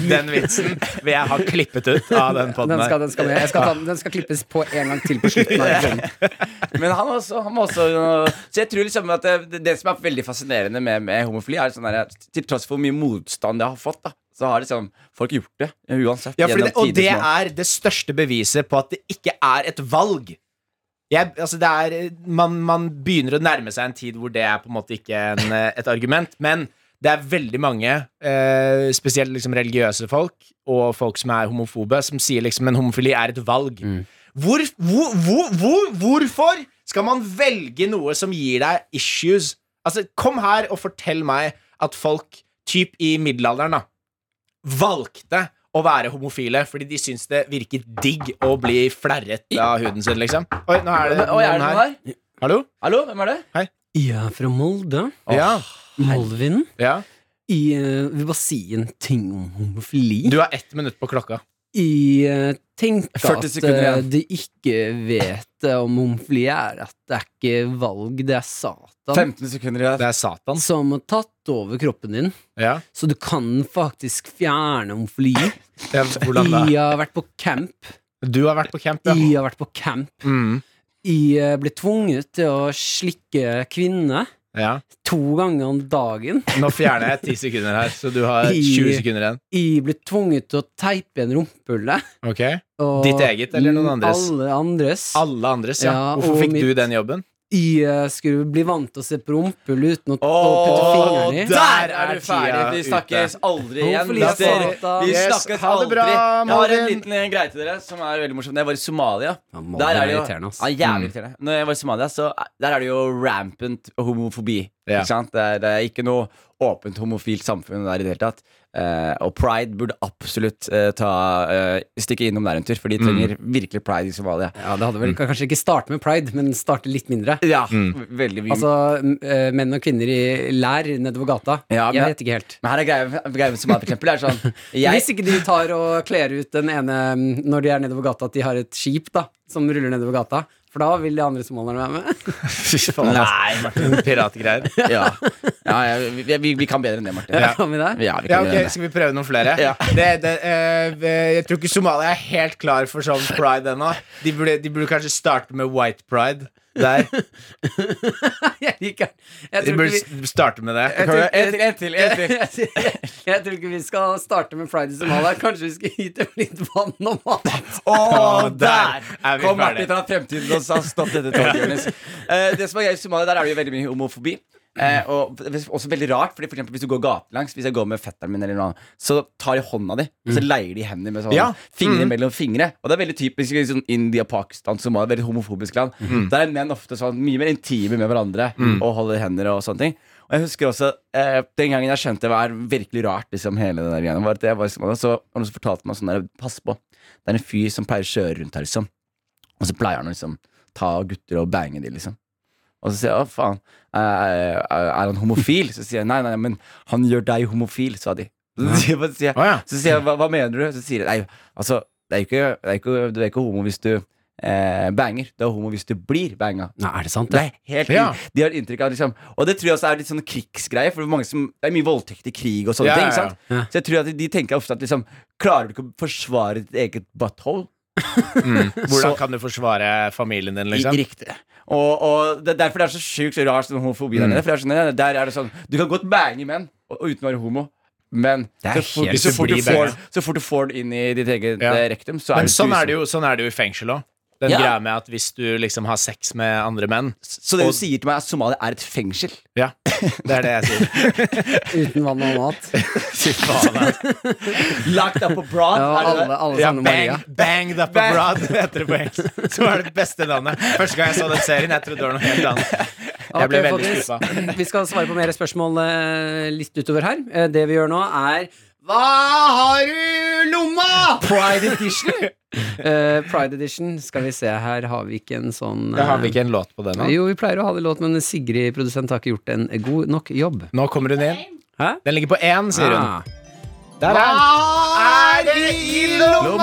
Den vitsen vil jeg ha klippet ut av den podden Den her. skal, den skal, med. jeg skal ta, den- den skal klippes på en gang til på slutten. Av episoden. Men han, også, han må også Så jeg tror liksom at det, det som er veldig fascinerende med, med homofili, er sånn der, til tross for hvor mye motstand det har fått, da, så har liksom folk gjort det uansett. Ja, fordi gjennom det, og tidens det morgen. er det største beviset på at det ikke er et valg. Jeg, altså det er, man, man begynner å nærme seg en tid hvor det er på en måte ikke en, eh, et argument, men det er veldig mange, eh, spesielt liksom religiøse folk og folk som er homofobe, som sier liksom en homofili er et valg. Hvor, hvor, hvor, hvor, hvorfor skal man velge noe som gir deg issues? Altså, kom her og fortell meg at folk, typ i middelalderen da, valgte å være homofile fordi de syns det virket digg å bli flerret av huden sin, liksom. Oi, nå er det Men- Oi, er det noen noen her. her? Hallo? Hallo, hvem er det? Jeg er fra Molde. Ja. Molvin. ja. Jeg eh, vil bare si en ting om homofili. Du har ett minutt på klokka. Jeg eh, tenker 40 at sekunder eh, igjen. de ikke vet eh, om homofili er at det er ikke valg, det er Satan 15 sekunder igjen. Sånn. Det er Satan. som har tatt over kroppen din. Ja. Så du kan faktisk fjerne homofili. Ja, hvordan da? Jeg har vært på camp. Du har vært på camp, ja. Jeg har vært på camp. Mm. Jeg eh, ble tvunget til å slikke kvinner ja. to ganger om dagen. Nå fjerner jeg ti sekunder her, så du har 20 sekunder igjen. Jeg ble tvunget til å teipe igjen rumpehullet. Ok og- Ditt eget eller noen andres? Alle andres. Alle andres, ja. Ja, Hvorfor og fikk du mitt- den jobben? Jeg eh, skulle bli vant til å se på rumpehull uten å, å putte Åh, fingeren i. der er tida du ferdig! Vi ute. snakkes aldri igjen. Hvorfor Vi liker ser- Satan? vi Yes, snakkes ha det aldri. bra, Jeg har en Malvin. liten eh, greie til dere som er veldig morsom. Da jeg var i Somalia Ja, Molde Der er er det jo irriterende, ass. ja, jævlig irriterende. Når jeg var i Somalia, så er- der er det jo rampant homofobi. Ja. Ikke sant? Det er, det er ikke noe åpent homofilt samfunn der i det hele tatt. Eh, og pride burde absolutt eh, ta, eh, stikke innom der en tur, for de trenger virkelig pride i Somalia. Ja, det hadde vel kanskje ikke starte med pride, men starte litt mindre. Ja, veldig mye. Altså m- eh, menn og kvinner i lær nedover gata. Ja, jeg men- vet ikke helt. men her er greia greia med Somalia, for eksempel. Er sånn, jeg, Hvis ikke de tar og kler ut den ene mm, når de er nedover gata, at de har et skip da som ruller nedover gata. For da vil de andre somalierne være med. <laughs> <laughs> Fy faen, Nei, Martin. Piratgreier. ja, ja, ja vi, vi, vi kan bedre enn det, Martin. Ja. Kan vi det? Ja, <laughs> vi Ja, kan gjøre ok, det. Skal vi prøve noen flere? Ja. Det, det, eh, jeg tror ikke Somalia er helt klar for sånn pride ennå. De burde, de burde kanskje starte med white pride <laughs> der. <laughs> Jeg liker den. Jeg De tror burde ikke vi s- starte med det. Kan vi- En til, en til, en til. <laughs> jeg tror ikke vi skal starte med Friday Somalia. Kanskje vi skal gi dem litt vann og mat. Å, der der! er vi Kom ferdig. Martin fra fremtiden og sa stopp dette toget, Jonis. Eh, det som er gøy i Somalia, der er det jo veldig mye homofobi. Eh, og også veldig rart, fordi for eksempel hvis du går gatelangs, hvis jeg går med fetteren min, eller noe annet, så tar de hånda di, og så leier de hendene med sånn Ja. fingre mellom fingre. Og det er veldig typisk i sånn India, Pakistan, Somalia, veldig homofobisk land. Der er menn ofte sånn mye mer intime med hverandre og holder hender og sånne ting. Og jeg husker også eh, Den gangen jeg skjønte det var virkelig rart, liksom hele den der greia, var at jeg var i Somalia, så og noen som fortalte meg sånn der Pass på. Det er en fyr som pleier å kjøre rundt her, liksom. Og så pleier han å liksom ta gutter og bange de, liksom. Og så sier jeg 'Å, faen, eh, er han homofil?' Så sier jeg 'Nei, nei, men han gjør deg homofil', sa de. Så sier jeg- så sier jeg, Å, ja. så sier jeg hva, 'Hva mener du?' Så sier de 'Nei, altså, det er jo ikke, det er ikke, du er ikke homo hvis du eh, banger. Du er homo hvis du blir banga. Nei, er det sant? Det er helt Ja. De har inntrykk av liksom Og det tror jeg også er litt sånn krigsgreie, for mange som, det er mye voldtekt i krig og sånne Ja, ting. ja, ikke ja. sant? Så jeg tror at de, de tenker ofte at liksom Klarer du ikke å forsvare ditt eget butthole? Hvordan kan du forsvare familien din, I- liksom? Riktig. Og, og det er derfor det er så sjukt så rart sånn homofobi Mm. der nede. For det er sånn, ja, der er det sånn Du kan godt bange menn og, og uten å være homo. Men er så fort, helt så, fort du ubli får, bange. så fort du får det inn i ditt eget Ja. eh, rektum, så er Men du sånn er tusen. det jo, sånn er det jo i fengsel òg. Den Ja. greia med at hvis du liksom har sex med andre menn Så det Og- du sier til meg, er at Somalia er et fengsel. Ja, det er det jeg sier. Uten vann og mat. <laughs> Fy faen, ass. Lagt up abroad. Ja, er det det? alle, alle Ja, sånne bang, sånn Maria. banged up Bang. abroad heter det på engelsk. Som er det beste navnet. Første gang jeg så den serien, jeg trodde det var noe helt annet. Jeg ble Ok, veldig folkens. skuffa. <clears throat> Vi skal svare på mer spørsmål eh, litt utover her. Eh, Det vi gjør nå, er Hva Ah, har du i lomma? Pride <laughs> Edition. Eh, Pride Edition, skal vi se her, har vi ikke en sånn eh, Jeg har vi ikke en sånn? låt på det nå? Jo, vi pleier å ha det låt, men Sigrid, produsent, har ikke gjort en god nok jobb. Nå kommer hun inn. Hæ? Den ligger på én, sier hun. Ah. Der er den. Hva Ah, Er det i lomma?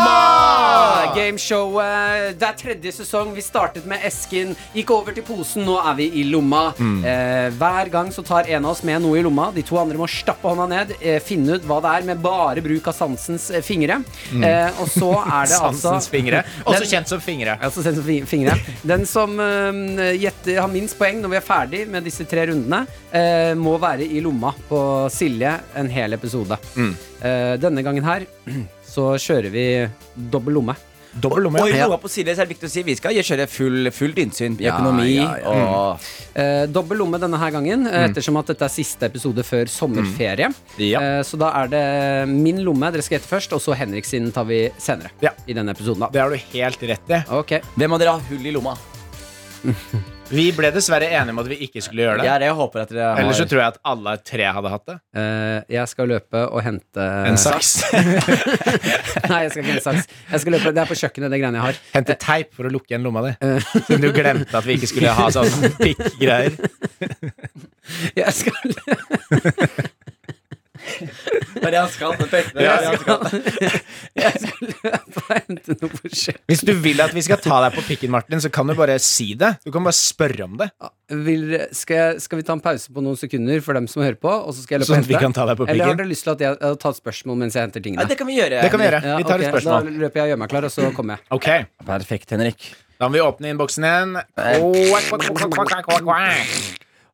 Gøy Gameshowet. Det er eh, tredje sesong. Vi startet med esken, gikk over til posen, nå er vi i lomma. Eh, hver gang så tar en av oss med noe i lomma. De to andre må stappe hånda ned, eh, finne ut hva det er, med bare bruk av sansens eh, fingre. Eh, og så er det altså <laughs> Sansens fingre. Også Den- kjent som fingre. Jeg har også sendt som fi- fingre. Den som eh, gjetter, har minst poeng når vi er ferdig med disse tre rundene, eh, må være i lomma på Silje en hel episode. Eh, denne gangen her <clears throat> så kjører vi dobbel lomme. Dobbel lomme. Og i ja. lomma på Silje så er det viktig å si vi skal kjøre full, fullt innsyn i Ja, økonomi ja, ja. og Eh, dobbel lomme denne her gangen, eh, Mm. ettersom at dette er siste episode før sommerferie. Ja. Eh, så da er det min lomme dere skal gjette først, og så Henrik sin tar vi senere. Ja. I denne episoden, da. Det har du helt rett i. Ok. eh, Hvem av dere har hull i lomma? Vi ble dessverre enige om at vi ikke skulle gjøre det. Jeg, jeg håper at dere har Ellers så tror jeg at alle tre hadde hatt det. Eh, jeg skal løpe og hente En saks. <laughs> Nei, jeg skal ikke hente saks. Jeg skal løpe, det er på kjøkkenet, det greiene jeg har. Hente teip for å lukke igjen lomma di. Siden du glemte at vi ikke skulle ha sånn pikkgreier. Jeg skal Det er det han skal. Perfekt. Det er det han skal. <laughs> Jeg skal løpe og hente noe på kjøkkenet. Hvis du vil at vi skal ta deg på pikken, Martin, så kan du bare si det. Du kan bare spørre om det. Vil, skal, jeg- skal vi ta en pause på noen sekunder for dem som hører på? Og så skal jeg løpe Sånn og at hente vi kan ta deg på Eller har pikken. dere lyst til at jeg eh, tar et spørsmål mens jeg henter Ja, tingene? det kan vi gjøre. Det kan vi gjøre. Vi tar ok, et spørsmål. Da løper jeg og gjør meg klar, og så kommer jeg. Ok, Perfekt, Henrik. Da må vi åpne innboksen igjen.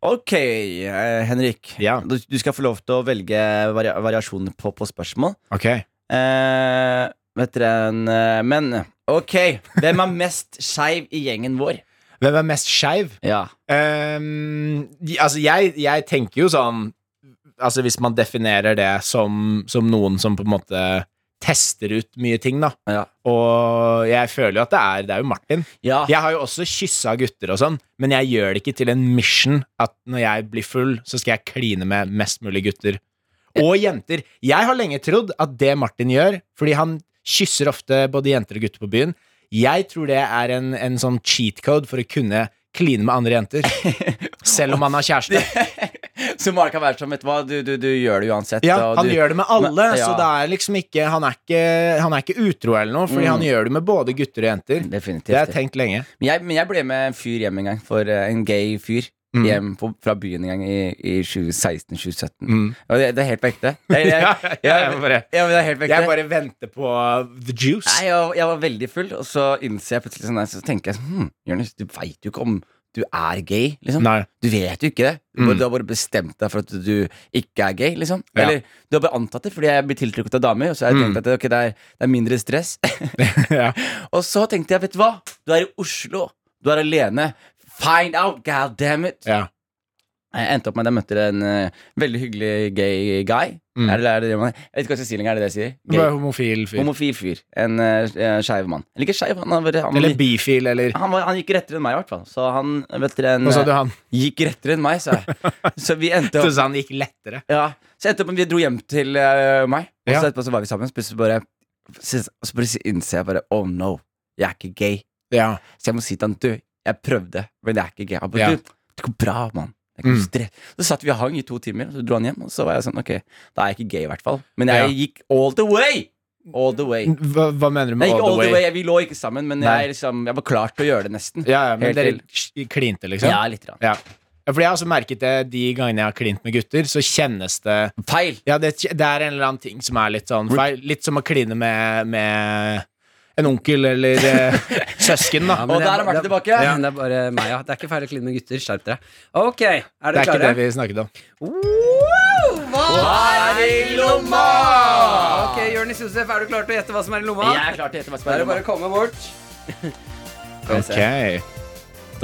Ok, eh, Henrik. Ja. Du, du skal få lov til å velge varia variasjoner på, på spørsmål. Ok, Eh, vet dere en eh, Men ok, hvem er mest skeiv i gjengen vår? Hvem er mest skeiv? Ja. Ehm, de- altså, jeg, jeg tenker jo sånn Altså, hvis man definerer det som, som noen som på en måte tester ut mye ting, da. Ja. Og jeg føler jo at det er Det er jo Martin. ja. Jeg har jo også kyssa gutter og sånn, men jeg gjør det ikke til en mission at når jeg blir full, så skal jeg kline med mest mulig gutter. Og jenter. Jeg har lenge trodd at det Martin gjør, fordi han kysser ofte både jenter og gutter på byen, jeg tror det er en, en sånn cheat code for å kunne kline med andre jenter. <laughs> Selv om han har kjæreste. Så Mara kan være sånn, vet du hva, du, du, du gjør det uansett. Ja, og han du, gjør det med alle, Men- så ja. det er liksom ikke Han er ikke, han er ikke utro eller noe, fordi han gjør det med både gutter og jenter. Mm. Definitivt. Det har jeg tenkt lenge. Men jeg, men jeg ble med en fyr hjem en gang, for eh, en gay fyr. Mm. Hjem på, fra byen en gang i, i 2016-2017. Og det, det er helt på ekte. Jeg, jeg, Mm. <laughs> Ja, ja, jeg må bare- ja, men det er helt på ekte. Jeg bare venter på the juice. Nei, jeg, jeg var veldig full, og så innser jeg plutselig sånn, nei, så tenker jeg sånn hm, Jonis, du veit jo ikke om du er gay, liksom. Nei. Du vet jo ikke det. Du, Mm. bare- du har bare bestemt deg for at du ikke er gay, liksom. Ja. Eller du har bare antatt det fordi jeg blir tiltrukket av damer, og så har jeg Mm. tenkt at ok, det, er, det er mindre stress. <laughs> ja. <laughs> og så tenkte jeg, vet du hva, du er i Oslo, du er alene. Find out, god damn it. Ja. Jeg endte opp med at jeg møtte en eh, veldig hyggelig gay guy. Mm. Er det, er det det man Jeg vet ikke hva slags stilling er det det jeg sier. Du er homofil fyr. Homofil fyr. En uh, skeiv mann. Eller ikke skeiv, han, var- han, Eller var- bifil, eller han, var- han gikk rettere enn meg, i hvert fall. Så han vet dere, en, Hva sa du eh, han? gikk rettere enn meg, <laughs> sa jeg. Så vi endte Du opp sa han gikk lettere. ja, Så endte opp med at vi dro hjem til eh, meg, og Ja. så etterpå så var vi sammen. Så plutselig bare så- så plutselig innser jeg bare Oh no, jeg er ikke gay. Ja. Så jeg må si til han Du, jeg prøvde, men jeg er ikke gay. Han bare, Ja. du, det går bra, mann. Det Mm. går stre-» Så satt vi og hang i to timer, og så dro han hjem. Og så var jeg sånn, ok, da er jeg ikke gay, i hvert fall. Men jeg Ja. gikk all the way! All the way. Hva, hva mener du Nei, med ikke all the way? Vi lå ikke sammen, men Nei. jeg, liksom, jeg var klar til å gjøre det nesten. Ja, ja, men Helt dere til. kj- klinte, liksom? Ja, Ja. litt. Rann. Ja, Fordi jeg har også merket det de gangene jeg har klint med gutter, så kjennes det Feil! Ja, det, det er en eller annen ting som er litt sånn feil. Litt som å kline med, med en onkel eller eh, søsken, da. men Og det der er- er Martin det tilbake. Ja. men Det er bare meg, ja. Det er ikke feil å kline med gutter. Skjerp dere. Ok, det er dere er ikke klare? det vi snakket om. Wow, hva er i lomma? Ok, Jonis Josef, er du klar til å gjette hva som er i lomma? Jeg er klar til å gjette hva som Da er er i det bare lomma. å komme bort. Ok.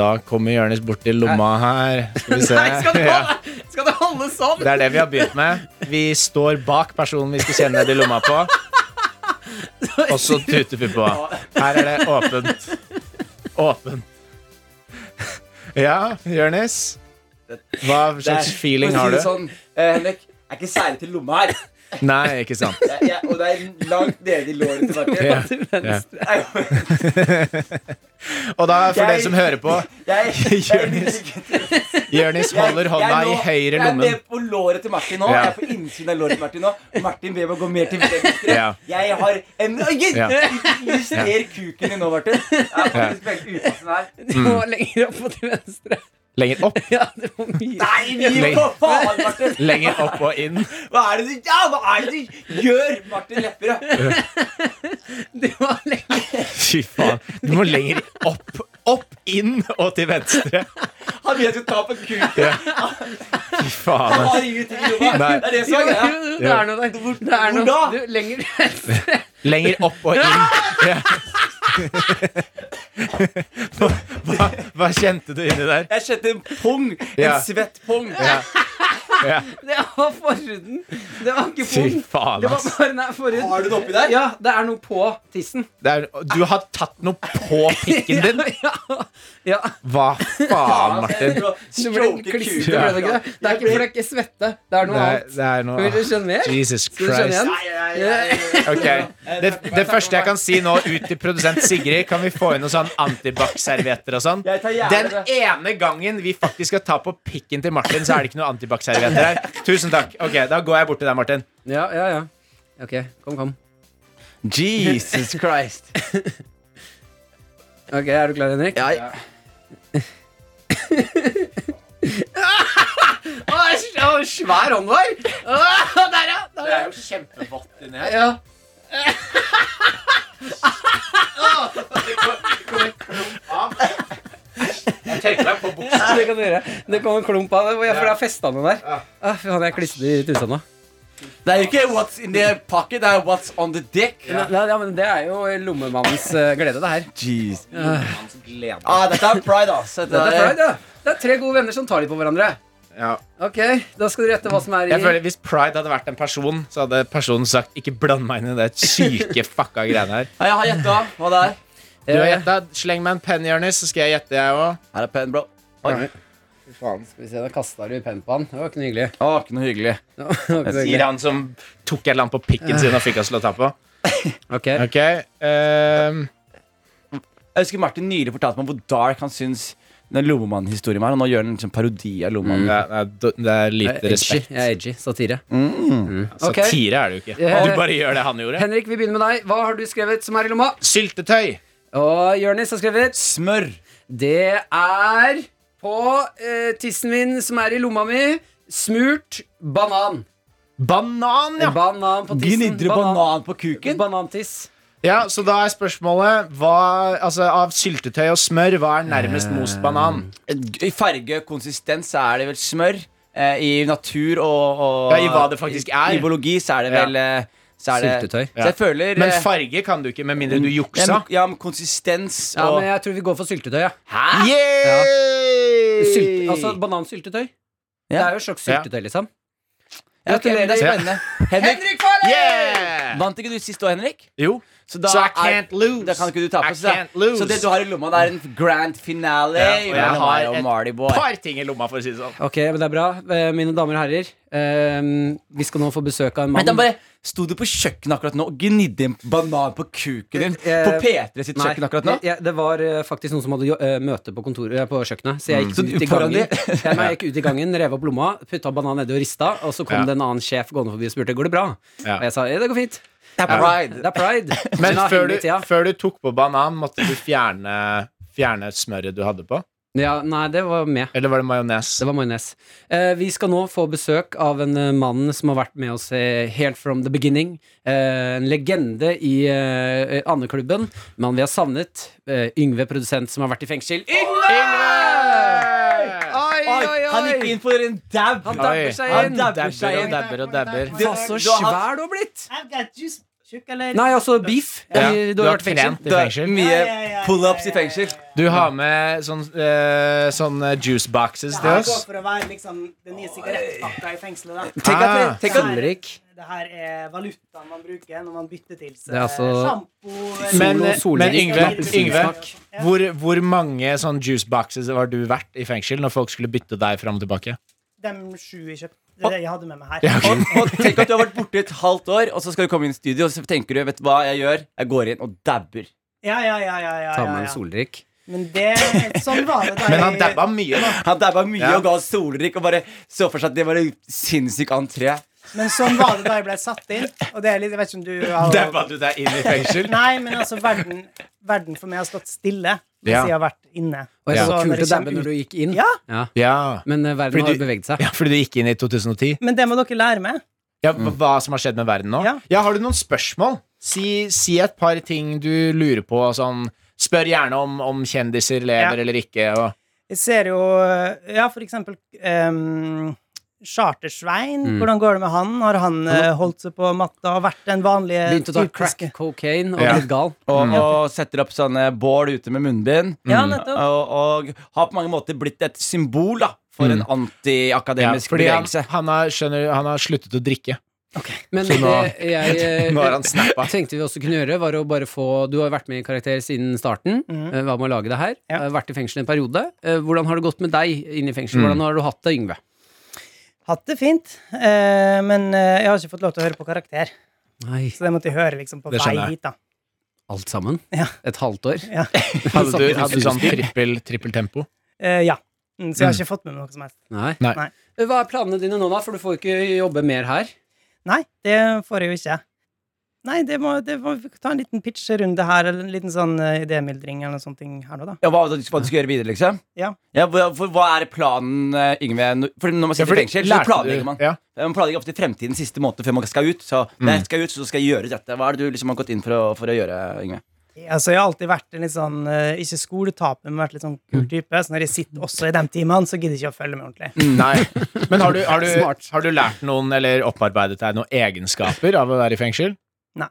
Da kommer Jonis bort til lomma her. Skal vi <laughs> se. Nei, skal du Ja. holde, skal du holde sånn? Det er det vi har begynt med. Vi står bak personen vi skal kjenne ned i lomma på, og så tuter vi på. Her er det åpent. Åpent. Ja, Jonis? Hva slags feeling har For å si det du? Sånn, eh, Henrik, jeg er ikke særlig til lomma her. Nei, ikke sant. Jeg, jeg, og det er langt nede i låret tilbake. Ja, Til ja. venstre. Jeg, Og da, for Jeg- dere som hører på, jeg, <laughs> Jonis Jonis holder hånda i høyre Jeg er lommen. med på låret til Martin nå. Ja. Jeg er på innsiden av låret til Martin nå. Martin ber meg gå mer til venstre. Ja. Jeg har en Oi, Ja. Illustrer kuken din nå, Martin. Jeg er faktisk veldig upassende her. Du må Mm. lenger opp og til venstre. Lenger opp, Ja, det var mye. Nei, vi for faen, Martin! lenger opp og inn. Hva er det du, ja, hva er det du gjør, Martin Lepperød? Det var lenger. <laughs> Fy faen. Du må lenger opp. Opp, inn og til venstre. Han vet jo ta på kuken. Fy faen. Han har ingenting i lomma. Nei. Det er det som Jo, jo, er greia. det er noe der. Det er noe. Hvor da? Du, lenger. <laughs> Lenger opp og inn. Ja. Hva, hva, hva kjente du inni der? Jeg kjente en pung. En Ja. svett pung. Ja. Ja. Det var forhuden. Det var ikke Fy pung. faen, Det var ass. bare nei, forhud. Har du det oppi der? Ja, det er noe på tissen. Det er, du har tatt noe på pikken din. <laughs> Ja, ja. Hva faen, Martin? Det ble klissete, Stroke kuken. ble det ikke det? Det er ikke, for det er ikke svette. Det er noe Det er, annet. det er noe Vil du skjønne mer? Ah, Jesus Skal du skjønne Christ. igjen? Nei, nei, nei, nei. Ok, det, det første jeg kan si nå ut til produsent Sigrid, kan vi få inn noen sånn antibac-servietter og sånn? Jeg tar Den gjerne det. ene gangen vi faktisk skal ta på pikken til Martin, så er det ikke noen antibac-servietter her. Tusen takk. Ok, Da går jeg bort til deg, Martin. Ja, ja, ja. Ok, kom, kom. Jesus Christ. Ok, Er du klar, Henrik? Ja. Å, så svær hånd var! Å, Der, ja! Der, Det er jo kjempevått inni her. ja. Det kommer en klump av. Jeg tørker meg på buksa. Det kan du gjøre. Det kom en klump av det, for jeg har festa noe der. Ah, Fy faen, jeg klistrer i tusa nå. Det er jo ikke 'what's in the pocket', det er 'what's on the dick'. Ja. ja, men Det er jo lommemannens eh, glede, det her. Jeez. Ah, dette er pride, ass. Dette Det er, er- pride, ja. det er tre gode venner som tar litt på hverandre. Ja. Ok, Da skal du rette hva som er i Jeg føler Hvis pride hadde vært en person, så hadde personen sagt 'ikke bland meg inn i det syke fucka greiene her'. Ja, Jeg har gjetta hva det er. Du har gjetta. Sleng meg en penn, Jonis, så skal jeg gjette, jeg òg. Her er pen, bro. Oi. Skal vi se, Da kasta du penn på han. Det var ikke noe hyggelig. Å, ikke noe hyggelig. Det var ikke noe Sier hyggelig. han som tok et eller annet på pikken sin og fikk oss til å ta på. Ok, Ok, ehm, Jeg husker Martin nylig fortalte meg hvor dark han syns den Lommemannen-historien var. Og nå gjør han liksom parodi av Lommemannen. det, er, det er Jeg lite er edgy. respekt. Jeg er edgy. Satire. Ok. Satire er det jo ikke. Du bare gjør det han gjorde. Henrik, vi begynner med deg. Hva har du skrevet som er i lomma? Syltetøy. Og Jonis har skrevet Smør. Det er på eh, tissen min som er i lomma mi, smurt banan. Banan, ja. Banan på Din tissen. indre banan på kuken. Banantiss. ja! Så da er spørsmålet hva, altså, Av syltetøy og smør, hva er nærmest most banan? I farge og konsistens så er det vel smør. Eh, I natur og, og Ja, i hva det faktisk er. I biologi så er det vel eh, så er det, Syltetøy. Så jeg føler Men eh, farge kan du ikke, med mindre du ja, juksa. men, ja, men konsistens Ja, og men jeg tror vi går for syltetøy. Ja. Hæ? Yeah! Sylt, altså banansyltetøy. Det er jo et slags Ja. syltetøy, liksom. Ja, ok, men det er Ja. spennende. Henrik, Yeah! vant ikke du sist òg, Henrik? Jo. Så da Så I er- can't lose. Da kan ikke du tape. I Så, can't lose. så det du har i lomma, det er en grand finale. Ja, og jeg mellom har meg og et Marley Boy. Par ting i lomma, for å si det sånn. Ok, men Det er bra. Eh, Mine damer og herrer, eh, vi skal nå få besøk av en mann. Men da bare Sto du på kjøkkenet akkurat nå og gnidde en banan på kuken din? Eh, På P3 sitt Nei, kjøkken akkurat nå? jeg- jeg- det var eh, faktisk noen som hadde jo- eh, møte på kontoret eh, på kjøkkenet. Så jeg gikk, Mm. Så du- ut, i gangen, foran <laughs> jeg, nei, jeg gikk ut i gangen, rev opp lomma, putta banan nedi og rista, og så kom Ja. det en annen sjef gående forbi og spurte går det bra. Ja. Og jeg sa ja, det går fint. Det er pride. Det er <laughs> pride. Men Ja, før du, helvete, ja. før du tok på banan, måtte du fjerne, fjerne smøret du hadde på? ja, Nei, det var med. Eller var det majones? Det var majones. Eh, vi skal nå få besøk av en eh, mann som har vært med oss eh, helt from the beginning. Eh, en legende i eh, andeklubben. Mann vi har savnet. Eh, Yngve, produsent som har vært i fengsel. Yngve! Oi, Oi, han gikk inn for en dab. Han Oi, dabber seg han inn. dabber seg og inn. dabber og dabber. Faen, så Du har svær hatt- du har blitt! I've got juice, chocolate. Nei, altså beef. Ja, I- Du har vært i fengsel. trent i fengsel. Mye Ja, ja, ja, ja, pull-ups i ja, ja, fengsel. Du har med sånn, eh, sånne juice boxes Det til her oss. går for å være liksom den nye sigarettpakka i fengselet. Da. Tenk at, Ah. tenk at Sølvrik. Det her er valutaen man bruker når man bytter til seg Det er altså- sjampo eller- Men, Solo- solo- men Yngve, Smakes- Yngve smak. hvor, hvor mange sånn sånne juice boxes har du vært i fengsel når folk skulle bytte deg fram og tilbake? De sju jeg kjøpte Det er det jeg hadde med meg her. Og, og tenk at du har vært borte i et halvt år, og så skal du komme inn i studio, og så tenker du Vet du hva jeg gjør? Jeg går inn og dabber. Ja, ja, ja, ja, ja, Ta ja, med en ja. soldrikk. Men det Sånn var det da Men han jeg- dabba mye, da. Han dabba mye Ja. og ga oss solrik og bare så for seg at det var en sinnssyk entré. Men sånn var det da jeg ble satt inn. Og det er litt, jeg vet ikke om du har <laughs> Dabba du deg inn i <laughs> fengsel? Nei, men altså, verden, verden for meg har stått stille mens Ja. jeg har vært inne. Og jeg Så så når kult å det kommer dabbe når ut- du gikk inn. Ja, Ja. Men eh, verden Fordi har du- beveget seg. ja, fordi du gikk inn i 2010? men det må dere lære meg. Ja, Mm. hva- Hva som har skjedd med verden nå? Ja. Har du noen spørsmål? Si, si et par ting du lurer på. og Sånn. Spør gjerne om, om kjendiser lever Ja. eller ikke. Og, Jeg ser jo Ja, for eksempel ehm, Chartersvein. Hvordan går det med han? Har han eh, holdt seg på matta og vært den vanlige Begynte å ta crack typiske- cocaine og Ja. blitt gal. Og, Mm. og setter opp sånne bål ute med munnbind. Mm. Ja, nettopp. Og, og har på mange måter blitt et symbol da for en Mm. ja, antiakademisk fordi han, bevegelse. han, har, skjønner, du, han har sluttet å drikke. Men Så nå- det jeg <laughs> <laughs> eh, Nå har han snappa. tenkte vi også kunne gjøre, var å bare få Du har vært med i Karakter siden starten. Mhm. eh, Hva med å lage det her? Ja. Eh, Vært i fengsel en periode. Eh, Hvordan har det gått med deg inne i Mm. fengsel? Hvordan har du hatt det, Yngve? Hatt det fint, eh, men eh, jeg har ikke fått lov til å høre på karakter. Nei, Så det måtte jeg høre liksom på Det vei skjønner jeg. hit, da. alt sammen? Ja. Et halvt år? <laughs> Ja. Hadde du, Samme hadde du fysisk. sånn trippel, trippel tempo? Eh, ja. Mm, Så jeg har ikke fått med meg noe som helst. Nei. Nei. Nei. Hva er planene dine nå, da? For du får ikke jobbe mer her. Nei, det får jeg jo ikke. Nei, det må, det må vi ta en liten pitcherunde her, eller en liten sånn eh, idémyldring eller noe sånt ting her nå, da. Ja, hva, hva du skal gjøre videre, liksom? Ja. hva, for, hva er planen, eh, Yngve? Nå- For når man sitter i fordi- fengsel, så lærte planlegger du- man. Ja. Man planlegger ofte fremtiden siste måned før man skal ut. Så Mm. når jeg skal ut, så skal jeg gjøre dette. Hva er det du liksom har gått inn for å, for å gjøre, Yngve? Altså, jeg har alltid vært en litt sånn eh, Ikke skoletaper, men vært litt sånn Mm. kul type. Så når jeg sitter også i de timene, så gidder jeg ikke å følge med ordentlig. Nei. Men har du, har, Smart. du, har du lært noen, eller opparbeidet deg noen egenskaper av å være i fengsel? Nei.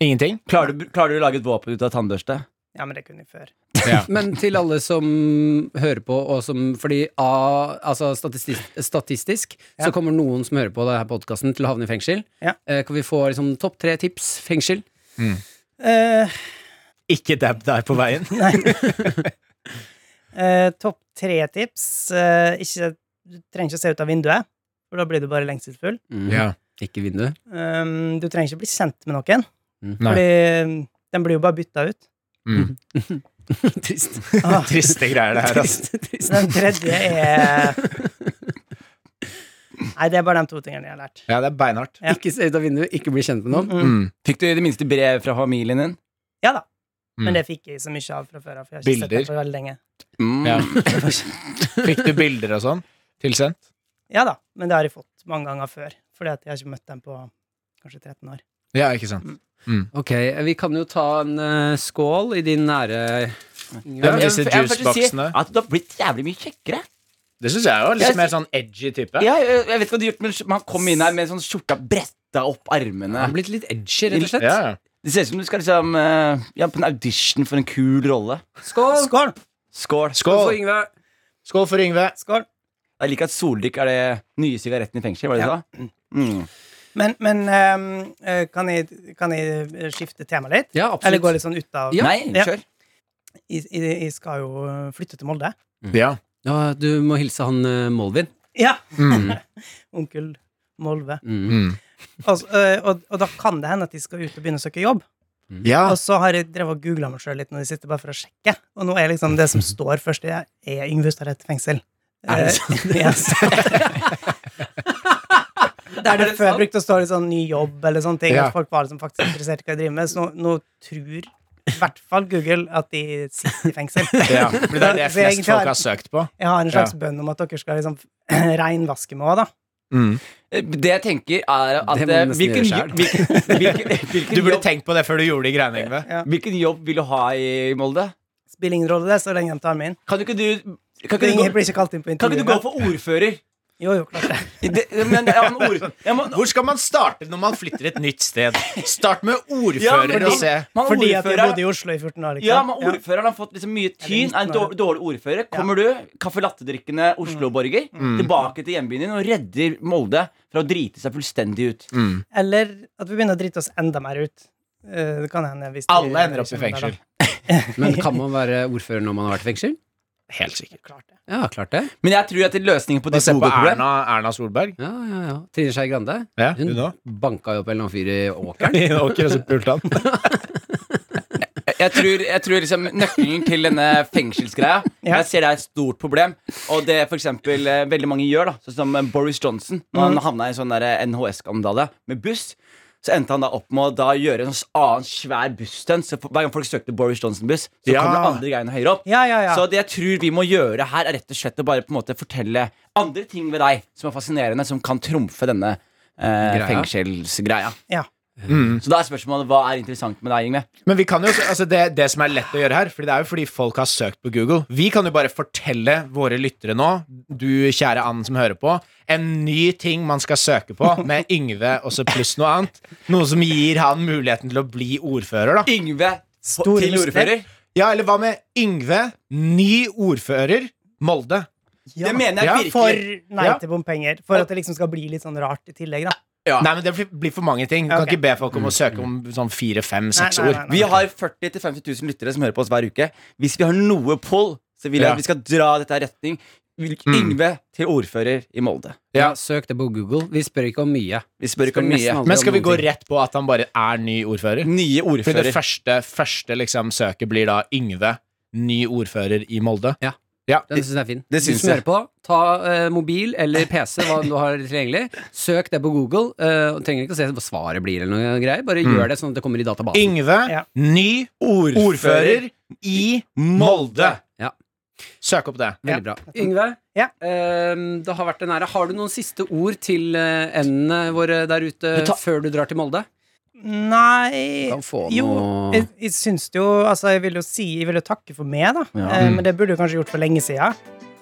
Ingenting? Klarer du, klarer du å lage et våpen ut av tannbørste? Ja, men det kunne jeg før. Ja. Men til alle som hører på, og som Fordi A, altså statistisk, statistisk så kommer noen som hører på denne podkasten, til å havne i fengsel. Ja. Eh, kan vi få liksom, topp tre tips fengsel? Eh, <laughs> Ikke dabb deg på veien. eh, topp tre tips. Eh, ikke, du trenger ikke å se ut av vinduet, for da blir du bare lengselsfull. Ja. Mm, Ikke vindu. <laughs> Um, du trenger ikke bli kjent med noen, Nei. fordi um, den blir jo bare bytta ut. Mm. Trist. Ah. Triste greier, det her. altså. ass. Trist, trist. Den tredje <laughs> er Nei, det er bare de to tingene jeg har lært. Ja, det er beinhardt. Ja. Ikke se ut av vinduet, ikke bli kjent med noen. Mm. Mm. Fikk du i det minste brev fra familien din? Ja da. Mm. Men det fikk jeg så mye av fra før av, for jeg har ikke Bilder. sett det på veldig lenge. Mm. Mm. Ja. <laughs> Fikk du bilder og sånn tilsendt? Ja da, men det har jeg fått mange ganger før, fordi at jeg har ikke møtt dem på kanskje 13 år. Ja, ikke sant. Ok, vi kan jo ta en eh, skål i din nære Det med Jeg- disse jeg- jeg vil først si juiceboksene. At du har blitt jævlig mye kjekkere. Det syns jeg jo. Jeg- Litt mer sånn edgy type. Ja, jeg, jeg vet ikke hva du har gjort, men Han kom inn her med sånn skjorta bretta opp Du har armene. blitt litt edgy, rett og slett. Ja, ja. Det ser ut som du skal liksom eh, ja, på en audition for en kul rolle. Skål! Skål! Skål. For Skål! Yngve. Skål for Yngve. Skål! Jeg liker at soldrikk er det nye sigaretten i fengsel. Var det Ja. det da? Mm. Men, men ehm, eh, kan, jeg, kan jeg eh, skifte tema litt? Ja, absolutt. Eller gå litt sånn ut av Nei, Ja. kjør. jeg, jeg, jeg skal jo eh, flytte til Molde. Ja. Ja, du må hilse han eh, Molvin. Ja! Mm. <laughs> Onkel Molve. Mm. Altså, eh, og, og da kan det hende at de skal ut og begynne å søke jobb. ja. Og så har jeg drevet og googla meg sjøl litt når de sitter bare for å sjekke. Og nå er liksom det som står først, det er Yngve Ustadrett fengsel. Eh, Er det <laughs> sant? Der det før brukte å stå litt sånn ny jobb eller sånne ting. Ja. At folk var liksom faktisk interessert i hva jeg driver med. Så nå, nå tror i hvert fall Google at de sitter i fengsel. ja. For det er det <laughs> Så jeg flest egentlig har- folk har søkt på. Jeg har en slags bønn om at dere skal liksom <clears throat> reinvaske meg òg, da. Eh, Det jeg tenker, er at Det må du eh, nesten hvilken, gjøre jo- hvilken, hvilken, hvilken, Du burde jobb, tenkt på det før du gjorde de greiene, Yngve. hvilken jobb vil du ha i Molde? Spiller ingen rolle det, så lenge de tar meg inn. Kan du ikke du Kan ikke Ingen du gå, blir ikke kalt inn på kan intervju. ikke du gå for ordfører? Jo, jo, klart det. Det, men, ja, men ord, ja, men, Hvor skal man starte når man flytter et nytt sted? Start med ja, men- ordfører og se. man Fordi at jeg ordfører- bodde i Oslo i 14 år, liksom. Ja, men ordføreren har fått liksom mye tyn. Er en Eller dårlig, dårlig ordfører. Kommer du, kaffe latte-drikkende Oslo-borger, tilbake til hjembyen din og redder Molde fra å drite seg fullstendig ut. Eller at vi begynner å drite oss enda mer ut. Eh, Det kan hende hvis du- Alle ender opp i fengsel. Men kan man være ordfører når man har vært i fengsel? Helt sikkert. Klart det. Ja, klart det. Men jeg tror at løsningen på Bare ditt se på hovedproblem Erna, Erna Solberg. Ja, ja, ja. Trine Skei Grande. Ja, Hun hun da? banka jo opp en eller annen fyr <laughs> i åkeren. I en åker, og så pulte han. jeg tror, jeg tror liksom nøkkelen til denne fengselsgreia <laughs> Ja. Jeg ser det er et stort problem. Og det for eksempel eh, veldig mange gjør, da sånn som eh, Boris Johnson. Når Mm. han havna i en sånn NHS-skandale med buss, så endte han da opp med å da gjøre en sånn annen svær busstunt. Så for- hver gang folk søkte Boris Johnson-buss, så Ja. kommer det andre greiene høyere opp. Ja, ja, ja. Så det jeg tror vi må gjøre her, er rett og slett å bare på en måte fortelle andre ting ved deg som er fascinerende, som kan trumfe denne eh, Greia. fengselsgreia. Ja. Mm. Så da er spørsmålet hva er interessant med deg, Yngve? <laughs> Men vi kan jo, altså det, det som er lett å gjøre her, Fordi det er jo fordi folk har søkt på Google Vi kan jo bare fortelle våre lyttere nå, du kjære Ann som hører på, en ny ting man skal søke på med Yngve og så pluss noe annet. Noe som gir han muligheten til å bli ordfører, da. Yngve på- Store til mistake. ordfører? Ja, eller hva med Yngve, ny ordfører, Molde. Ja. Det mener jeg Ja, virkelig. For nei Ja. til bompenger. For at det liksom skal bli litt sånn rart i tillegg, da. Ja. Nei, men det blir- blir for mange ting. Du kan Ok. ikke be folk om å søke om sånn fire, fem, seks Nei, nei, ord. nei, nei. Vi har 40 000-50 000 lyttere som hører på oss hver uke. Hvis vi har noe poll, så vil Ja. jeg Mm. at vi skal dra dette i retning. Yngve til ordfører i Molde. Ja, søk det på Google. Vi spør ikke om mye. Vi spør ikke om Nesten mye. aldri Men om skal vi noen gå ting. rett på at han bare er ny ordfører? Nye For det ordfører. første, første liksom søket blir da Yngve, ny ordfører i Molde. Den syns jeg er fin. Det du synes som hører jeg. på, ta eh, mobil <laughs> eller PC, hva du har tilgjengelig. Søk det på Google. eh, og trenger ikke å se hva svaret blir, eller noe greier. Bare Mm. gjør det sånn at det kommer i databasen. Yngve, Ja. ny ordfører, i Molde. Ja. Søk opp det. Veldig bra. Yngve, Ja. eh, det har vært en ære. Har du noen siste ord til eh, endene våre der ute Du tar- før du drar til Molde? Nei Kan få Eh, Jo, eh, noe- jeg, jeg syns jo Altså, jeg vil jo si Jeg vil jo takke for meg, da. Eh, men det burde du kanskje gjort for lenge siden.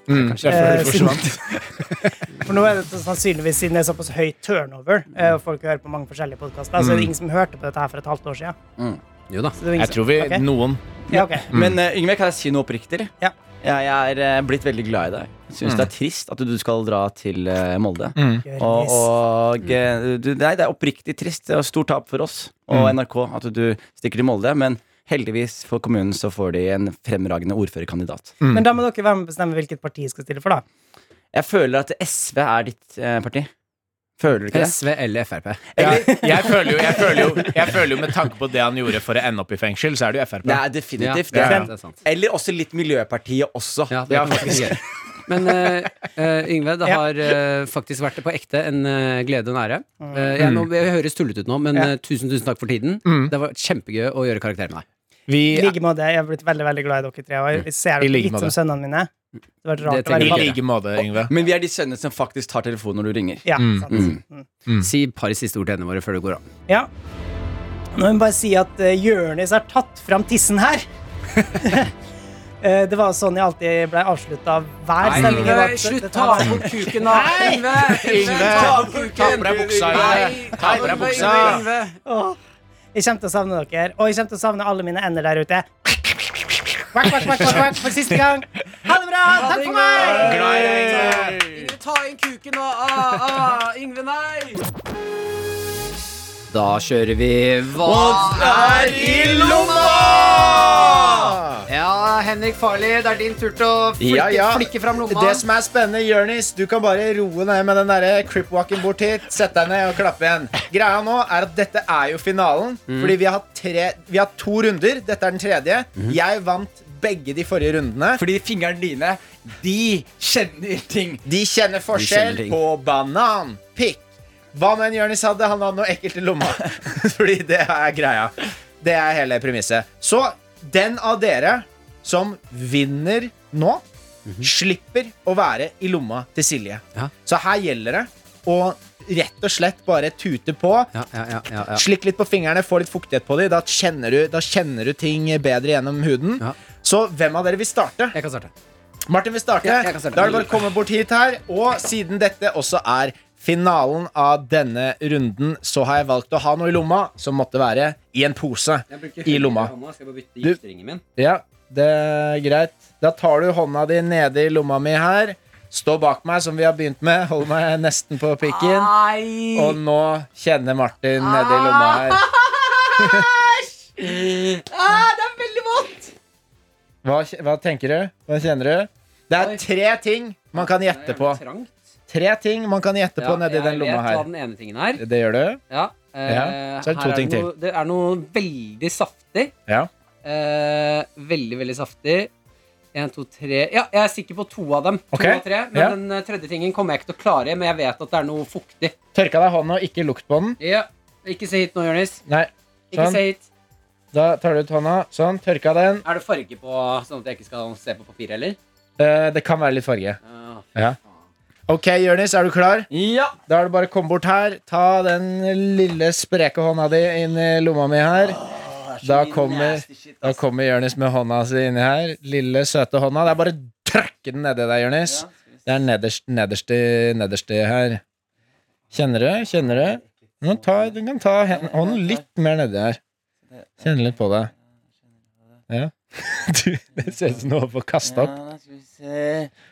Mm, det er Eh, før du forsvant. For nå er det så sannsynligvis siden det er såpass høy turnover, eh, og folk hører på mange forskjellige podkaster, så er det ingen som hørte på dette her for et halvt år siden. Jo da. Så det er ingen Jeg tror vi som- Ok. Noen. Ja, ok. Mm. Men eh, Yngve, kan jeg si noe oppriktig? eller? Ja. Jeg, jeg er eh, blitt veldig glad i deg. Syns Mm. det er trist at du skal dra til eh, Molde. Og, Gjøris. og eh, du, nei, det er oppriktig trist og stort tap for oss og NRK at du stikker til Molde. Men heldigvis for kommunen så får de en fremragende ordførerkandidat. Men da må dere være med og bestemme hvilket parti jeg skal stille for, da. Jeg føler at SV er ditt eh, parti. Føler du ikke det? SV eller Frp. Ja, jeg, føler jo, jeg, føler jo, jeg føler jo med tanke på det han gjorde for å ende opp i fengsel, så er det jo Frp. Det er definitivt Ja, det. det er sant. Eller også litt Miljøpartiet også. Ja, det Ja, kan faktisk gjøre. <laughs> Men eh, eh, Yngve, det Ja. har eh, faktisk vært på ekte en eh, glede og en ære. Eh, jeg, nå, jeg høres tullete ut nå, men Mm. Ja. eh, tusen, tusen takk for tiden. Det var kjempegøy å gjøre karakter med deg. Vi I like måte. Jeg har blitt veldig veldig glad i dere tre. Og jeg- jeg ser I dere like litt som måte. sønnene mine. Det har vært Det rart å tenker i være jeg. pappa. like måte, Yngve. Men vi er de sønnene som faktisk tar telefonen når du ringer. Ja, sant. Mm. Si et par siste ord til henne våre før du går av. ja. Nå må jeg bare si at uh, Jørnis har tatt fram <laughs> tissen her. Eh, det var sånn jeg alltid ble avslutta av hver sending. jeg var på. Dette var- bort kuken, da! Yngve! Yngve, ta på deg buksa. Yngve. Ta på deg buksa. Åh, Jeg kommer til å savne dere, og jeg kommer til å savne alle mine ender der ute. Quack, quack, quack, quack, quack, for siste gang. Ha det bra! Takk for meg! Glad i deg. Ta inn kuken nå! Ah, ah, Yngve, nei! Da kjører vi Hva er i lomma! Ja, Henrik Farli, det er din tur til å flikke, Ja, ja. flikke fram lomma. Det som er spennende, Jørnis, du kan bare roe ned med den der crip-walken bort hit. Sett deg ned og klappe igjen. Greia nå er at dette er jo finalen. Mm. Fordi vi har, hatt tre, vi har hatt to runder. Dette er den tredje. Jeg vant begge de forrige rundene. Mhm. Fordi fingrene dine, de kjenner ting. De kjenner forskjell De kjenner ting. på banan, pikk. Hva nå enn Jørnis hadde, han hadde noe ekkelt i lomma. <laughs> Fordi det er greia. Det er hele premisset. Så den av dere som vinner nå, slipper å være i lomma til Silje. Mhm. Ja. Så her gjelder det å rett og slett bare tute på. Ja, ja, ja, ja, ja. Slikk litt på fingrene, få litt fuktighet på dem. Da kjenner du, da kjenner du ting bedre gjennom huden. Ja. Så hvem av dere vil starte? Jeg kan starte. Martin vil starte. Ja, jeg kan starte. Da er det bare å komme bort hit her. Og siden dette også er finalen av denne runden, så har jeg valgt å ha noe i lomma som måtte være i en pose i lomma. Skal jeg bare bytte Du- min? Ja, det er greit. Da tar du hånda di nede i lomma mi her. Stå bak meg, som vi har begynt med. Hold meg nesten på pikken. Ah. Nei! Og nå kjenner Martin nedi lomma her. Ah, det er veldig vondt! Hva Hva, hva tenker du? Hva kjenner du? Det er tre ting man kan gjette på. Trangt. Tre ting man kan gjette på nedi den lomma Jeg vet hva her. den ene tingen er. Det gjør du? Ja. eh, Ja, så er det to her ting til. noe, Det er noe veldig saftig. Ja. Eh, veldig, veldig saftig. En, to, tre Ja, jeg er sikker på to av dem. Ok, To av tre, men ja. den eh, tredje tingen kommer jeg ikke til å klare, men jeg vet at det er noe fuktig. Tørka deg hånda og ikke lukt på den. Ja. Ikke se hit nå, Jonis. Nei, Ikke Sånn. se hit. da tar du ut hånda. Sånn, tørka den. Er det farge på, sånn at jeg ikke skal se på papiret heller? Eh, det kan være litt farge. Ah. Ja. Ok, Jonis, er du klar? Ja! Da er det bare å komme bort her. Ta den lille spreke hånda di inn i lomma mi her. Da kommer, da kommer Jonis med hånda si inni her. Lille, søte hånda. Det er bare å trykke den nedi der, Jonis. Det er nederst, nederste, nederste her. Kjenner du? Kjenner du? Nå ta, du kan ta hen- hånden litt mer nedi her. Kjenne litt på det. Ja. <laughs> Du, det ser ut som du holder på å kaste opp. Ja, skal vi se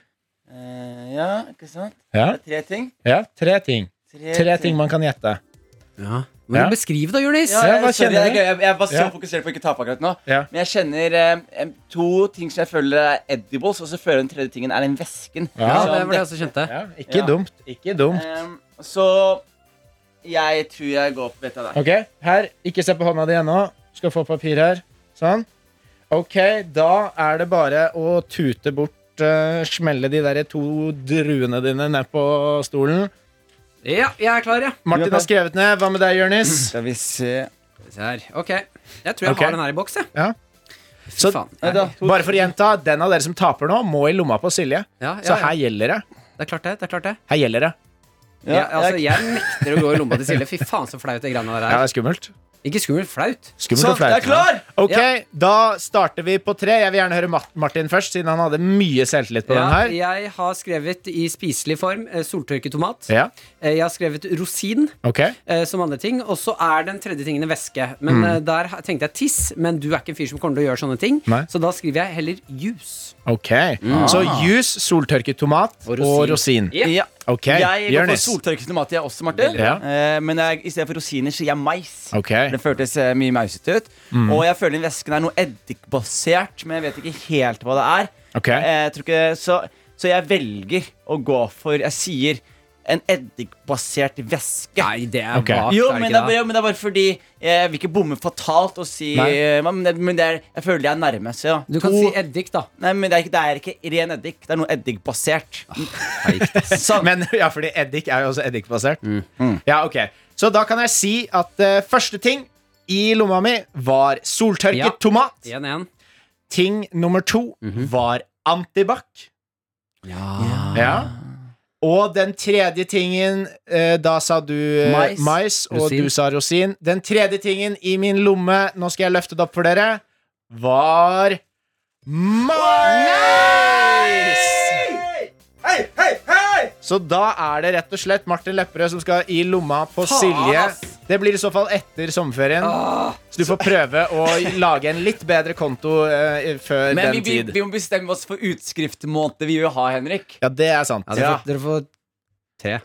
Eh, Ja, ikke sant? Ja, Det er Tre ting. ja tre ting. Tre ting man kan gjette. Men Ja. Beskriv da, Jonis. Ja, Ja, jeg, hva sorry, kjenner jeg, du? jeg, jeg var så Ja. fokusert på å ikke tape akkurat nå. Ja. Men jeg kjenner eh, to ting som jeg føler er edibles, og så føler jeg den tredje tingen er den væsken. Ja, Ja, Som det var det det- jeg også kjente. Ja, ikke Ja. dumt. Ikke dumt. Ehm, så jeg tror jeg går på dette der. Ok, her. Ikke se på hånda di ennå. Skal få papir her. Sånn. Ok, da er det bare å tute bort, eh, smelle de der to druene dine ned på stolen. Ja, jeg er klar, ja. Martin har skrevet ned. Hva med deg, Mm. Jonis? Skal vi se Se her. Ok. Jeg tror jeg Ok. har den her i boks, jeg. Ja. Fy Så- faen. Nei, da, to, Bare for å gjenta, den av dere som taper nå, må i lomma på Silje. Ja, Så ja, ja. her gjelder det. Det er klart det. det, er klart det. Her gjelder det. ja, jeg, altså, jeg- jeg nekter å gå i lomma til Silje. Fy faen, så flaut det greiene der Ja, det er. er skummelt. Ikke skummelt, flaut. Skummelt Sånn, og jeg er flaut. klar! Ok, Ja. da starter vi på tre. Jeg vil gjerne høre Mat- Martin først, siden han hadde mye selvtillit på Ja, den her. jeg har skrevet i spiselig form eh, soltørketomat. Ja, Eh, Jeg har skrevet rosin ok. eh, som andre ting. Og så er den tredje tingen en væske. Men Mm. eh, der ha- tenkte jeg tiss, men du er ikke en fyr som kommer til å gjøre sånne ting. Nei. Så da skriver jeg heller juice. Ok, Så juice, soltørket tomat og rosin. ja. Ok, Jeg går for Jonis. soltørket tomat, jeg også, Martin. Ja. Eh, men jeg, i stedet for rosiner sier jeg mais. Ok. Det føltes eh, mye mausete ut. Og jeg føler den væsken er noe eddikbasert, men jeg vet ikke helt hva det er. Ok. Eh, jeg tror ikke, så, så jeg velger å gå for Jeg sier en eddikbasert væske. Nei, det er Ok. vagt, Jo, er men det, ikke er, jo, men det er bare fordi eh, jeg vil ikke bomme fatalt og si Nei. eh, Men det, men det er, jeg føler jeg er nærme. Så ja. Du kan si eddik, da. Nei, men det er, ikke, det er ikke ren eddik. Det er noe eddikbasert. <laughs> Sånn. <laughs> Men ja, fordi eddik er jo også eddikbasert. Ja, ok. Så da kan jeg si at eh, første ting i lomma mi var soltørket Ja. tomat. 1-1. Ting nummer to var antibac. Ja. Og den tredje tingen eh, Da sa du eh, Mais. mais og Rosin. du sa rosin. Den tredje tingen i min lomme, nå skal jeg løfte det opp for dere, var mais! Så da er det rett og slett Martin Lepperød som skal i lomma på Silje. Det blir i så fall etter sommerferien. Så du får prøve å lage en litt bedre konto eh, før Men den vi, vi, tid. vi må bestemme oss for utskriftmåned vi vil ha, Henrik. Ja, det er sant. Ja, dere, får, dere får tre.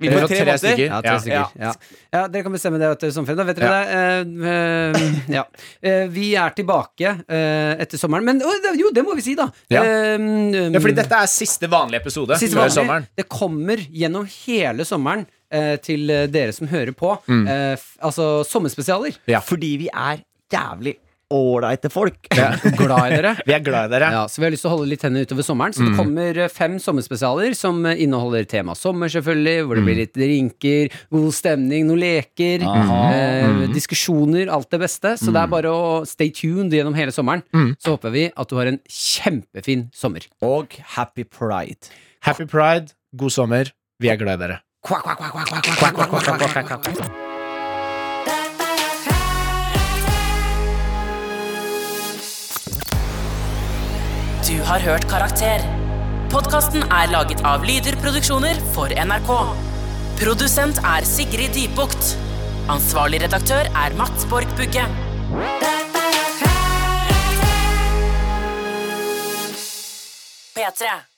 Vi Dere får får tre tre måneder. stykker. Ja, tre Ja. stykker. Ja. Ja, dere kan bestemme det etter sommerferien. Da vet Ja. dere det. Eh, eh, ja. Eh, vi er tilbake eh, etter sommeren. Men å, det- jo, det må vi si, da. Ja. Eh, mm, Ja, fordi dette er siste vanlige episode Siste før vanlig. sommeren. Det kommer gjennom hele sommeren eh, til eh, dere som hører på. Mm. Eh, f altså sommerspesialer. Ja. Fordi vi er jævlig ålreite folk. Glad i dere. Vi er glad i dere. Ja, så Vi har lyst til å holde litt hendene utover sommeren. Så det kommer eh, fem sommerspesialer som eh, inneholder tema sommer, selvfølgelig. Hvor det blir litt drinker, god stemning, noen leker, eh, diskusjoner. Alt det beste. Så det er bare å stay tuned gjennom hele sommeren. Så håper vi at du har en kjempefin sommer. Og Happy Pride. Happy pride, god sommer. Vi er glad i dere. Du har hørt Karakter. Podkasten er laget av Lyder Produksjoner for NRK. Produsent er Sigrid Dybukt. Ansvarlig redaktør er Mats Borg Bugge. P3.